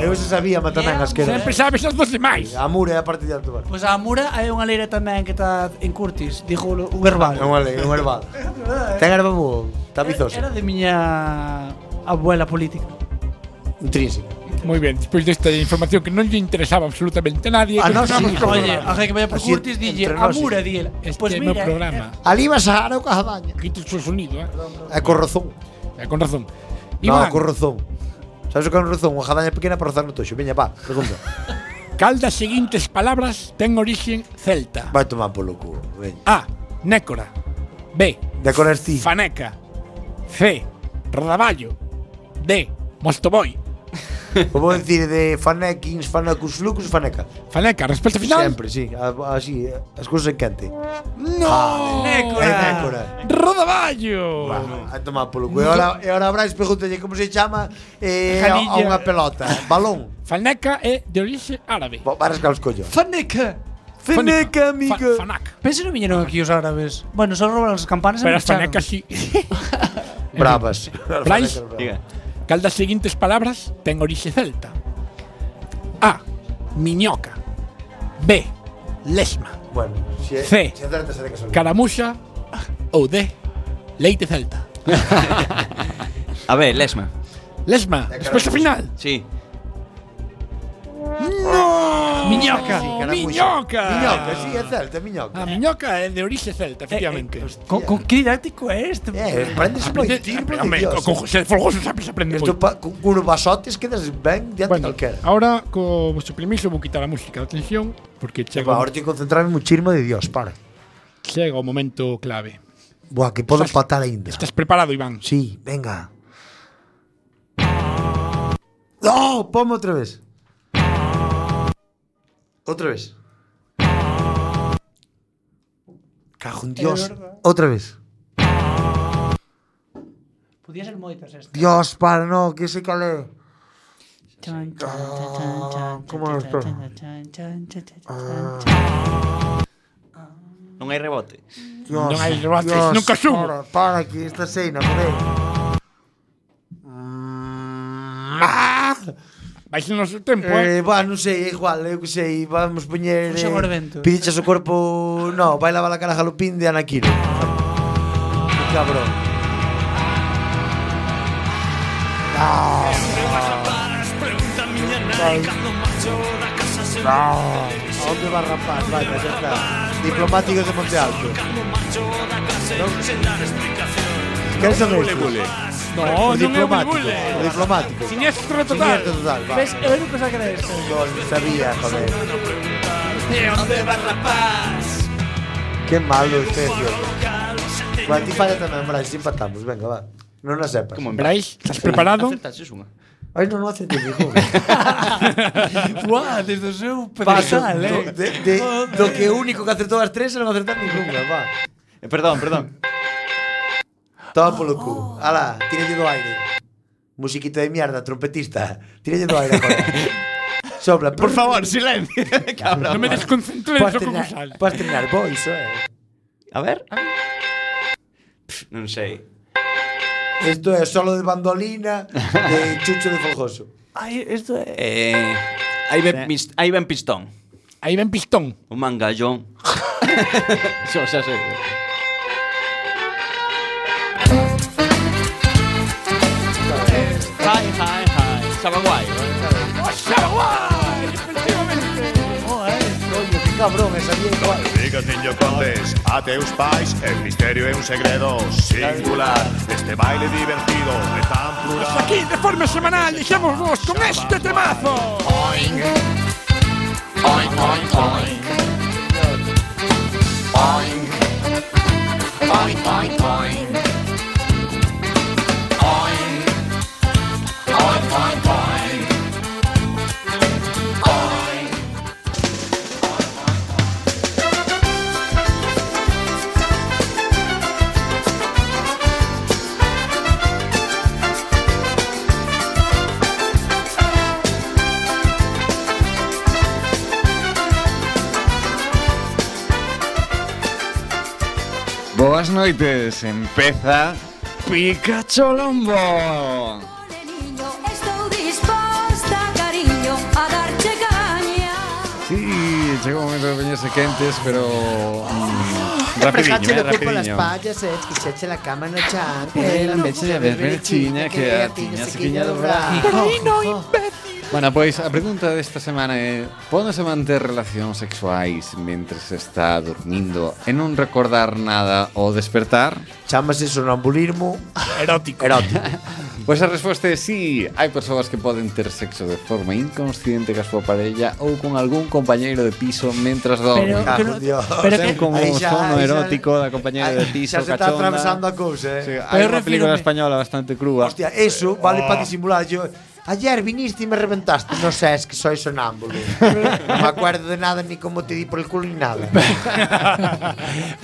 Speaker 4: Eu xa sabía, matatangas, que era.
Speaker 1: Sempre
Speaker 6: sabes as dos demais.
Speaker 4: A mura é a parte de alto bar.
Speaker 1: Pois a Amura hai unha leira tamén que está en Curtis, dijo o o herbal.
Speaker 4: É unha leira, é un herbal. Ten erva búho, está vizoso.
Speaker 1: Era de miña abuela política.
Speaker 4: Intrínseco.
Speaker 6: Moi ben, despois desta información que non lle interesaba absolutamente a nadie.
Speaker 1: Ah,
Speaker 6: que
Speaker 1: no, sí,
Speaker 6: continuamos co
Speaker 1: oye,
Speaker 6: programa.
Speaker 1: a que vaya por
Speaker 6: Así,
Speaker 1: Curtis, dille,
Speaker 6: entre nós,
Speaker 1: Amura,
Speaker 6: sí.
Speaker 1: di ela.
Speaker 6: Este
Speaker 1: Pois
Speaker 6: é o
Speaker 1: mira,
Speaker 6: meu programa.
Speaker 4: Ali vas a Jaro Cajadaña.
Speaker 6: Quito o seu sonido, eh.
Speaker 4: É co rozón.
Speaker 6: É con razón.
Speaker 4: No,
Speaker 6: Iván.
Speaker 4: co rozón. Sabes o que é un rozón? Unha jadaña pequena para rozar no toxo. Veña, pa, pregunta.
Speaker 6: Cal das seguintes palabras ten origen celta?
Speaker 4: Vai tomar polo culo, veña.
Speaker 6: A. Nécora. B.
Speaker 4: Decoras ti.
Speaker 6: Faneca. C. Rodaballo. D. Mostoboi.
Speaker 4: Como vou dicir de fanekins, fanacus, flucus, faneca.
Speaker 6: Faneca, resposta final?
Speaker 4: Sempre, sí. A- Así, eh, as cousas en quente. Ah.
Speaker 6: No.
Speaker 4: É Oh, nécora. Oh,
Speaker 6: Rodaballo.
Speaker 4: A tomar polo culo. E ahora, e ahora Brais pregúntalle como se chama eh, a, a
Speaker 6: Janilla.
Speaker 4: unha pelota. Balón.
Speaker 6: Faneca é de orixe árabe.
Speaker 4: Varas caos collo.
Speaker 1: Faneca.
Speaker 4: Faneca, amigo.
Speaker 6: Fanak.
Speaker 1: Pensa non viñeron aquí os árabes. Bueno, só robaron as campanas e
Speaker 6: Pero as fanecas sí.
Speaker 4: Bravas.
Speaker 6: Brais,
Speaker 7: Diga.
Speaker 6: cal das seguintes palabras ten orixe celta? A. Miñoca. B. Lesma.
Speaker 4: Bueno, se,
Speaker 6: C.
Speaker 4: se acertas é de casualidade.
Speaker 6: Caramuxa
Speaker 4: Ah.
Speaker 6: ou D. Leite celta.
Speaker 7: A B, Lesma.
Speaker 6: Lesma, resposta final.
Speaker 7: Sí.
Speaker 6: No!
Speaker 4: Miñoca. Sí, caramuxa.
Speaker 6: miñoca.
Speaker 4: Miñoca, sí, é celta, é miñoca.
Speaker 6: A miñoca é de orixe celta, efectivamente.
Speaker 1: Con, con que didáctico é este?
Speaker 4: Eh, aprendes moi tirbo pues, de
Speaker 6: Ah, Hombre,
Speaker 4: Dios.
Speaker 6: con José Folgoso sabes aprender
Speaker 4: Esto
Speaker 6: moi.
Speaker 4: pa, con unos basotes quedas ben diante bueno, calquera.
Speaker 6: Ahora, co vosso permiso, vou quitar a música de atención porque chega,
Speaker 4: Epa, ahora tengo que concentrarme muchísimo de Dios, para.
Speaker 6: chega o momento clave.
Speaker 4: Buah, que puedo empatar ainda.
Speaker 6: Estás preparado, Iván?
Speaker 4: Sí, venga. No, ponme outra vez. Outra vez. Cago en Dios. Outra vez.
Speaker 1: Podía ser moitas este.
Speaker 4: Dios, para, no, que se calé.
Speaker 1: Chan, chan, chan, chan, chan,
Speaker 4: ¿Cómo Ah.
Speaker 1: chan,
Speaker 4: nos
Speaker 1: chan,
Speaker 4: toca?
Speaker 1: chan, chan, chan, chan, chan, chan.
Speaker 7: Non hai rebote.
Speaker 4: Dios,
Speaker 7: Non hai remates,
Speaker 4: Dios,
Speaker 7: nunca subo.
Speaker 4: Para, para que esta cena, joder.
Speaker 6: Vais nos o tempo,
Speaker 4: eh? va, non sei, é igual, eu que sei, vamos poñer...
Speaker 1: Fuxe agora vento.
Speaker 4: Pidiches o corpo... No, vai lavar a cara jalopín de Anaquilo. Que cabrón.
Speaker 11: No.
Speaker 4: A onde va rapaz? Vai, xa está. Diplomáticos de Monte Alto.
Speaker 12: Non
Speaker 4: Quen son
Speaker 12: bule,
Speaker 4: estes?
Speaker 12: bule. Pues No,
Speaker 4: Os
Speaker 12: non é bule,
Speaker 4: diplomáticos,
Speaker 12: bule.
Speaker 4: os diplomáticos.
Speaker 12: Siniestro total.
Speaker 4: pues, Siniestro total, va.
Speaker 1: Ves, eu nunca saquei isto.
Speaker 4: Yo sabía, joder.
Speaker 5: ¿Dónde va rapaz?
Speaker 4: Qué malo este, tío. Bueno, a ti falla tamén, Brais, si empatamos, venga, va. Non a sepas. Como
Speaker 12: Brais, estás preparado?
Speaker 7: Acertaches unha.
Speaker 4: Ai, non, non acertei ningún.
Speaker 1: Buah, desde o seu
Speaker 4: Paso
Speaker 1: pedestal,
Speaker 4: do,
Speaker 1: eh.
Speaker 4: de, de, do que único que acertou as tres e non acertar ninguna, va.
Speaker 7: Eh, perdón, perdón.
Speaker 4: Toma polo cu. Ala, tírelle do aire. Musiquita de mierda, trompetista. Tírelle do aire agora. Sopla. Por
Speaker 7: favor, silencio.
Speaker 12: No me desconcentres,
Speaker 4: Podes
Speaker 12: o como
Speaker 4: treinar,
Speaker 12: sale.
Speaker 4: podes treinar bois, eh.
Speaker 7: A ver. Pff, non sei.
Speaker 4: Isto é solo de bandolina de Chucho de Folgoso.
Speaker 1: Ai, isto é...
Speaker 7: Eh, aí ven, pist, aí ven pistón.
Speaker 12: Aí ven pistón.
Speaker 7: O mangallón. Xo, xa sei. Hi, hi, hi. Estaba guai.
Speaker 4: Coño, que cabrón, esa bien igual.
Speaker 13: Dígate contes a teus pais El misterio é un segredo singular Este baile divertido é tan plural
Speaker 12: Aquí, de forma semanal, deixamos vos con este temazo. Oink.
Speaker 5: Oink, oink, oink. Oink. Oink, oink, oink. Oink. Oink, oink, oink. Oink.
Speaker 9: Boas noites, empeza Pikachu Lombo.
Speaker 14: Estou disposta, cariño, a darche caña.
Speaker 3: Sí, llegó un momento de bañarse quentes, pero. mm, rapidiño, eh, rapidiño.
Speaker 15: pallas, eh, esquichache la cama no
Speaker 3: Era en vez de haber verchiña que a tiña se quiña dobrar. Bueno, pois a pregunta desta semana é Pódese manter relacións sexuais mentre se está dormindo e non recordar nada ao despertar?
Speaker 4: Chámase sonambulismo
Speaker 12: erótico.
Speaker 4: Erótico.
Speaker 3: pois a resposta é sí, hai persoas que poden ter sexo de forma inconsciente ca súa parella ou con algún compañeiro de piso mentras
Speaker 4: Pero-
Speaker 3: dormen.
Speaker 4: Cago pero- en Dios. pero que-
Speaker 3: Sempre con
Speaker 4: Aí
Speaker 3: o
Speaker 4: xa-
Speaker 3: sono
Speaker 4: aí xa-
Speaker 3: erótico da compañeira de
Speaker 4: Ay,
Speaker 3: piso
Speaker 4: Xa se está
Speaker 3: cachonda.
Speaker 4: atravesando a cousa, eh.
Speaker 3: Sí, hai unha película española bastante crúa.
Speaker 4: Hostia, eso vale
Speaker 3: Oh.
Speaker 4: para disimular. Yo, ayer viniste y me reventaste. No sé, es que soy sonámbulo. No me acuerdo de nada ni cómo te di por el culo ni nada.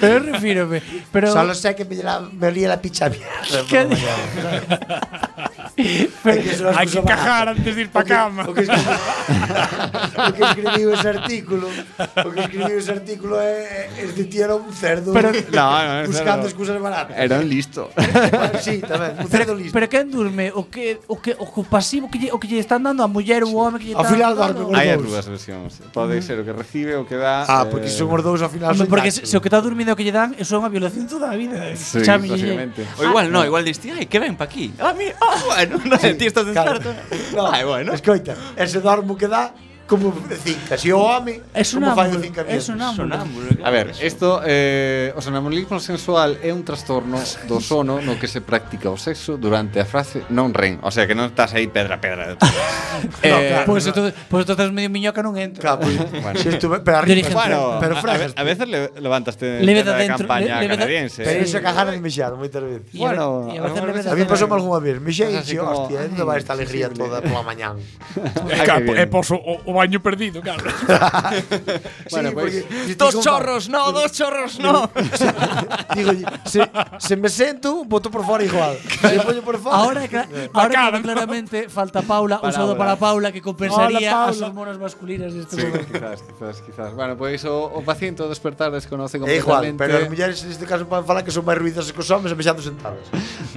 Speaker 1: pero refírome. Pero...
Speaker 4: Solo sé que me, la- me olía la picha mierda. por la mañana. Hay que ser una
Speaker 12: Hay que
Speaker 4: excusa barata.
Speaker 12: encajar antes de ir pa
Speaker 4: O que-
Speaker 12: cama.
Speaker 4: O que, escribí- o que escribiu ese artículo, o que escribiu ese artículo é este tío era un cerdo
Speaker 3: Pero- No, no, es
Speaker 4: buscando
Speaker 3: cerdo.
Speaker 4: excusas baratas.
Speaker 3: Era un listo.
Speaker 4: Bueno, sí, tamén, un cerdo listo.
Speaker 1: Pero quen durme? O que o que o que pasivo que lle, o que lle están dando a muller ou o home que lle
Speaker 4: Ao
Speaker 1: están
Speaker 4: final
Speaker 1: dando?
Speaker 4: dorme
Speaker 3: Hai as dúas versións. Pode ser o que recibe o que dá. eh,
Speaker 4: Ah, porque son os dous ao final
Speaker 1: Home,
Speaker 4: son
Speaker 1: porque
Speaker 4: gatos.
Speaker 1: se, se o que está dormindo é o que lle dan, eso é unha violación toda a vida. eh.
Speaker 3: Sí,
Speaker 1: Xa Ah, me lle-
Speaker 3: básicamente.
Speaker 7: O igual no, igual diste, ai, que ven pa aquí. Ah, mi, ah, bueno, non sei, ti estás desperto.
Speaker 4: No,
Speaker 7: Ai, bueno.
Speaker 4: Escoita, ese dormo que dá como cinca. Se o home,
Speaker 1: Es
Speaker 4: como fai o
Speaker 1: sonámbulo,
Speaker 4: cinca
Speaker 1: es sonámbulo. Sonámbulo,
Speaker 3: A ver, isto eh, o sonambulismo sensual é un trastorno do sono no que se practica o sexo durante a frase non ren, o sea que non estás aí pedra a pedra.
Speaker 1: pois entonces, pois entonces medio miñoca non entra.
Speaker 4: Claro, pois,
Speaker 3: Bueno.
Speaker 4: se estuve, pero
Speaker 1: Yo
Speaker 4: arriba,
Speaker 1: dije,
Speaker 4: bueno, pero
Speaker 3: a-
Speaker 4: frases.
Speaker 3: A, ve- a veces le, levantaste
Speaker 1: Leve da
Speaker 3: terra de
Speaker 1: dentro,
Speaker 3: campaña
Speaker 1: le- leve da-
Speaker 3: canadiense.
Speaker 4: Pero
Speaker 3: eh.
Speaker 4: iso cajaron de mexar moitas veces.
Speaker 1: Y a veces-
Speaker 3: Bueno,
Speaker 1: y a veces
Speaker 3: algunas
Speaker 1: le ves
Speaker 4: A mí
Speaker 1: hacer-
Speaker 4: pasou algunha vez, mexei e
Speaker 3: Cosas así
Speaker 4: dixen,
Speaker 3: como,
Speaker 4: hostia, onde
Speaker 3: "Ay,
Speaker 4: vai esta alegría toda pola mañán?
Speaker 12: É,
Speaker 4: Ah,
Speaker 12: ca-
Speaker 4: que bien.
Speaker 12: é poso o, o baño perdido, claro.
Speaker 4: Bueno, pois,
Speaker 7: Dos chorros, no, dos chorros, no.
Speaker 4: Digo, se, se me sento, boto por fora igual. Se poño por fora.
Speaker 1: Ahora, cla- ahora queda claramente falta Paula,
Speaker 3: Paula.
Speaker 1: usado para Paula que compensaría
Speaker 3: Hola, Paula.
Speaker 1: as hormonas masculinas deste
Speaker 3: Sí,
Speaker 1: momento.
Speaker 3: quizás, quizás, quizás. Bueno, pois o, o paciente ao despertar desconoce
Speaker 4: É igual,
Speaker 3: completamente.
Speaker 4: pero as mulleres neste caso poden falar que son máis ruidosas que os homens e mexando sentadas.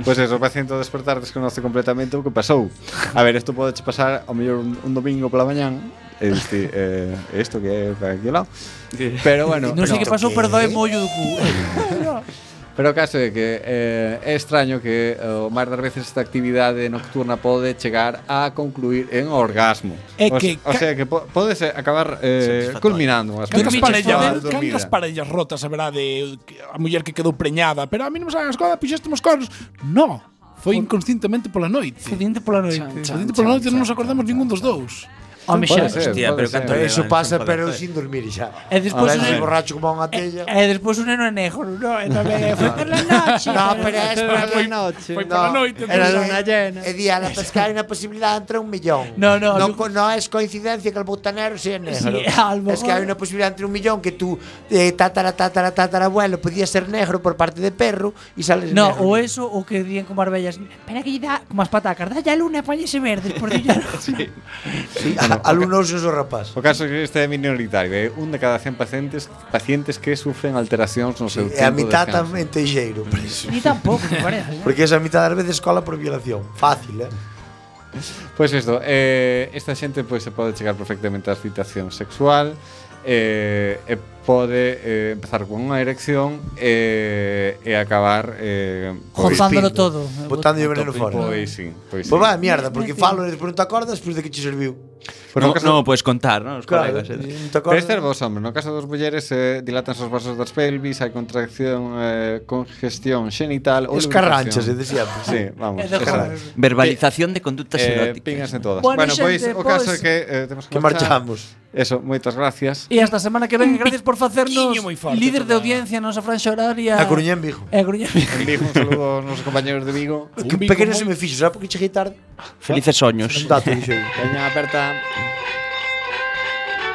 Speaker 3: Pois Pues eso, o paciente ao despertar desconoce completamente o que pasou. A ver, isto pode pasar ao mellor un, un domingo pola mañán, este, eh, isto que eh, é para aquí ao lado. Pero bueno,
Speaker 1: non sei que pasou, pero
Speaker 3: perdoe
Speaker 1: doe mollo do cu.
Speaker 3: Pero o caso é que eh, é extraño que eh, o máis das veces esta actividade nocturna pode chegar a concluir en orgasmo.
Speaker 6: É
Speaker 3: O
Speaker 6: que
Speaker 3: se- o, sea que po podes eh, acabar eh, culminando.
Speaker 6: Cantas parellas, cantas parellas rotas haberá de a muller que quedou preñada, pero a mí non me saben as codas, puxéstemos coros. No, foi inconscientemente pola noite. Fodinte
Speaker 1: pola
Speaker 6: noite. Fodinte pola noite non nos acordamos ningún dos dous.
Speaker 1: Home, xa. Pode ser,
Speaker 4: Hostia, pero canto Eso
Speaker 7: ¿eh?
Speaker 4: pasa, pero sin dormir xa.
Speaker 1: E despois Eh,
Speaker 4: Ahora
Speaker 1: un
Speaker 4: es borracho como unha tella.
Speaker 1: E despois un neno é negro, no, e tamén é, foi por la noche.
Speaker 4: No, pero es por la noche.
Speaker 1: Foi por la noite.
Speaker 4: Era
Speaker 1: entonces,
Speaker 4: luna llena. E di a la pescar una posibilidad entre un millón.
Speaker 1: No, no,
Speaker 4: No,
Speaker 1: yo-
Speaker 4: co- no es coincidencia que el butanero sea negro.
Speaker 1: Sí, a lo
Speaker 4: es que hay
Speaker 1: mejor.
Speaker 4: una posibilidad entre un millón que tu eh, tatara, tatara, tatara abuelo podía ser negro por parte de perro y sales
Speaker 1: No,
Speaker 4: negro.
Speaker 1: o eso, o que dían con Marbellas. Espera que lle dá como as patacas, dalle a luna e poñese verde, por Dios. sí.
Speaker 4: Sí, a- alumnos esos rapaz.
Speaker 3: O caso é que este é minoritario, é un de cada 100 pacientes pacientes que sufren alteracións no seu
Speaker 4: E a
Speaker 3: tempo de
Speaker 4: mitad
Speaker 3: descanso.
Speaker 4: tamén teixeiro. preso.
Speaker 1: Ni tampouco, me parece.
Speaker 4: Porque esa mitad das veces cola por violación. Fácil, eh?
Speaker 3: Pois isto, eh, esta xente pois se pode chegar perfectamente á excitación sexual, eh, e pode eh, empezar con unha erección eh, e acabar eh, pois-
Speaker 1: Gozándolo todo.
Speaker 4: Botando o veneno fora.
Speaker 3: Pois sí, pois sí.
Speaker 4: Pois vai a mierda, porque falo e despois non te acordas, despois de que che serviu.
Speaker 3: Pois no, caso-
Speaker 7: non o podes pues contar, non? Os
Speaker 4: Claro,
Speaker 7: colegas, eh.
Speaker 4: non te
Speaker 3: Pero
Speaker 4: acordas.
Speaker 3: este é vos, hombre, no caso dos mulleres eh, dilatan os vasos das pelvis, hai contracción, eh, congestión xenital ou
Speaker 4: Escarranchas, é eh,
Speaker 3: lubricación.
Speaker 4: de siempre.
Speaker 3: Sí, vamos.
Speaker 4: É de
Speaker 3: escarra-
Speaker 4: joder.
Speaker 7: Verbalización de conductas
Speaker 3: eh,
Speaker 7: eróticas.
Speaker 3: Pingas en todas.
Speaker 1: Bueno,
Speaker 3: Bueno, pois
Speaker 1: xente,
Speaker 3: o caso é
Speaker 1: pois-
Speaker 3: que eh, temos que,
Speaker 4: Que marchamos.
Speaker 3: Eso, moitas gracias.
Speaker 1: E hasta a semana que ven, gracias por facernos
Speaker 6: piquiño moi forte
Speaker 1: líder de audiencia na nosa franxa horaria.
Speaker 4: A Coruña en Vigo.
Speaker 1: E a Coruña en Vigo.
Speaker 3: En Vigo, un saludo aos nosos compañeros de Vigo.
Speaker 4: Que pequeno se me fixo, sabe porque cheguei tarde?
Speaker 7: Felices soños.
Speaker 4: Un dato, dixo eu.
Speaker 3: Peña aperta.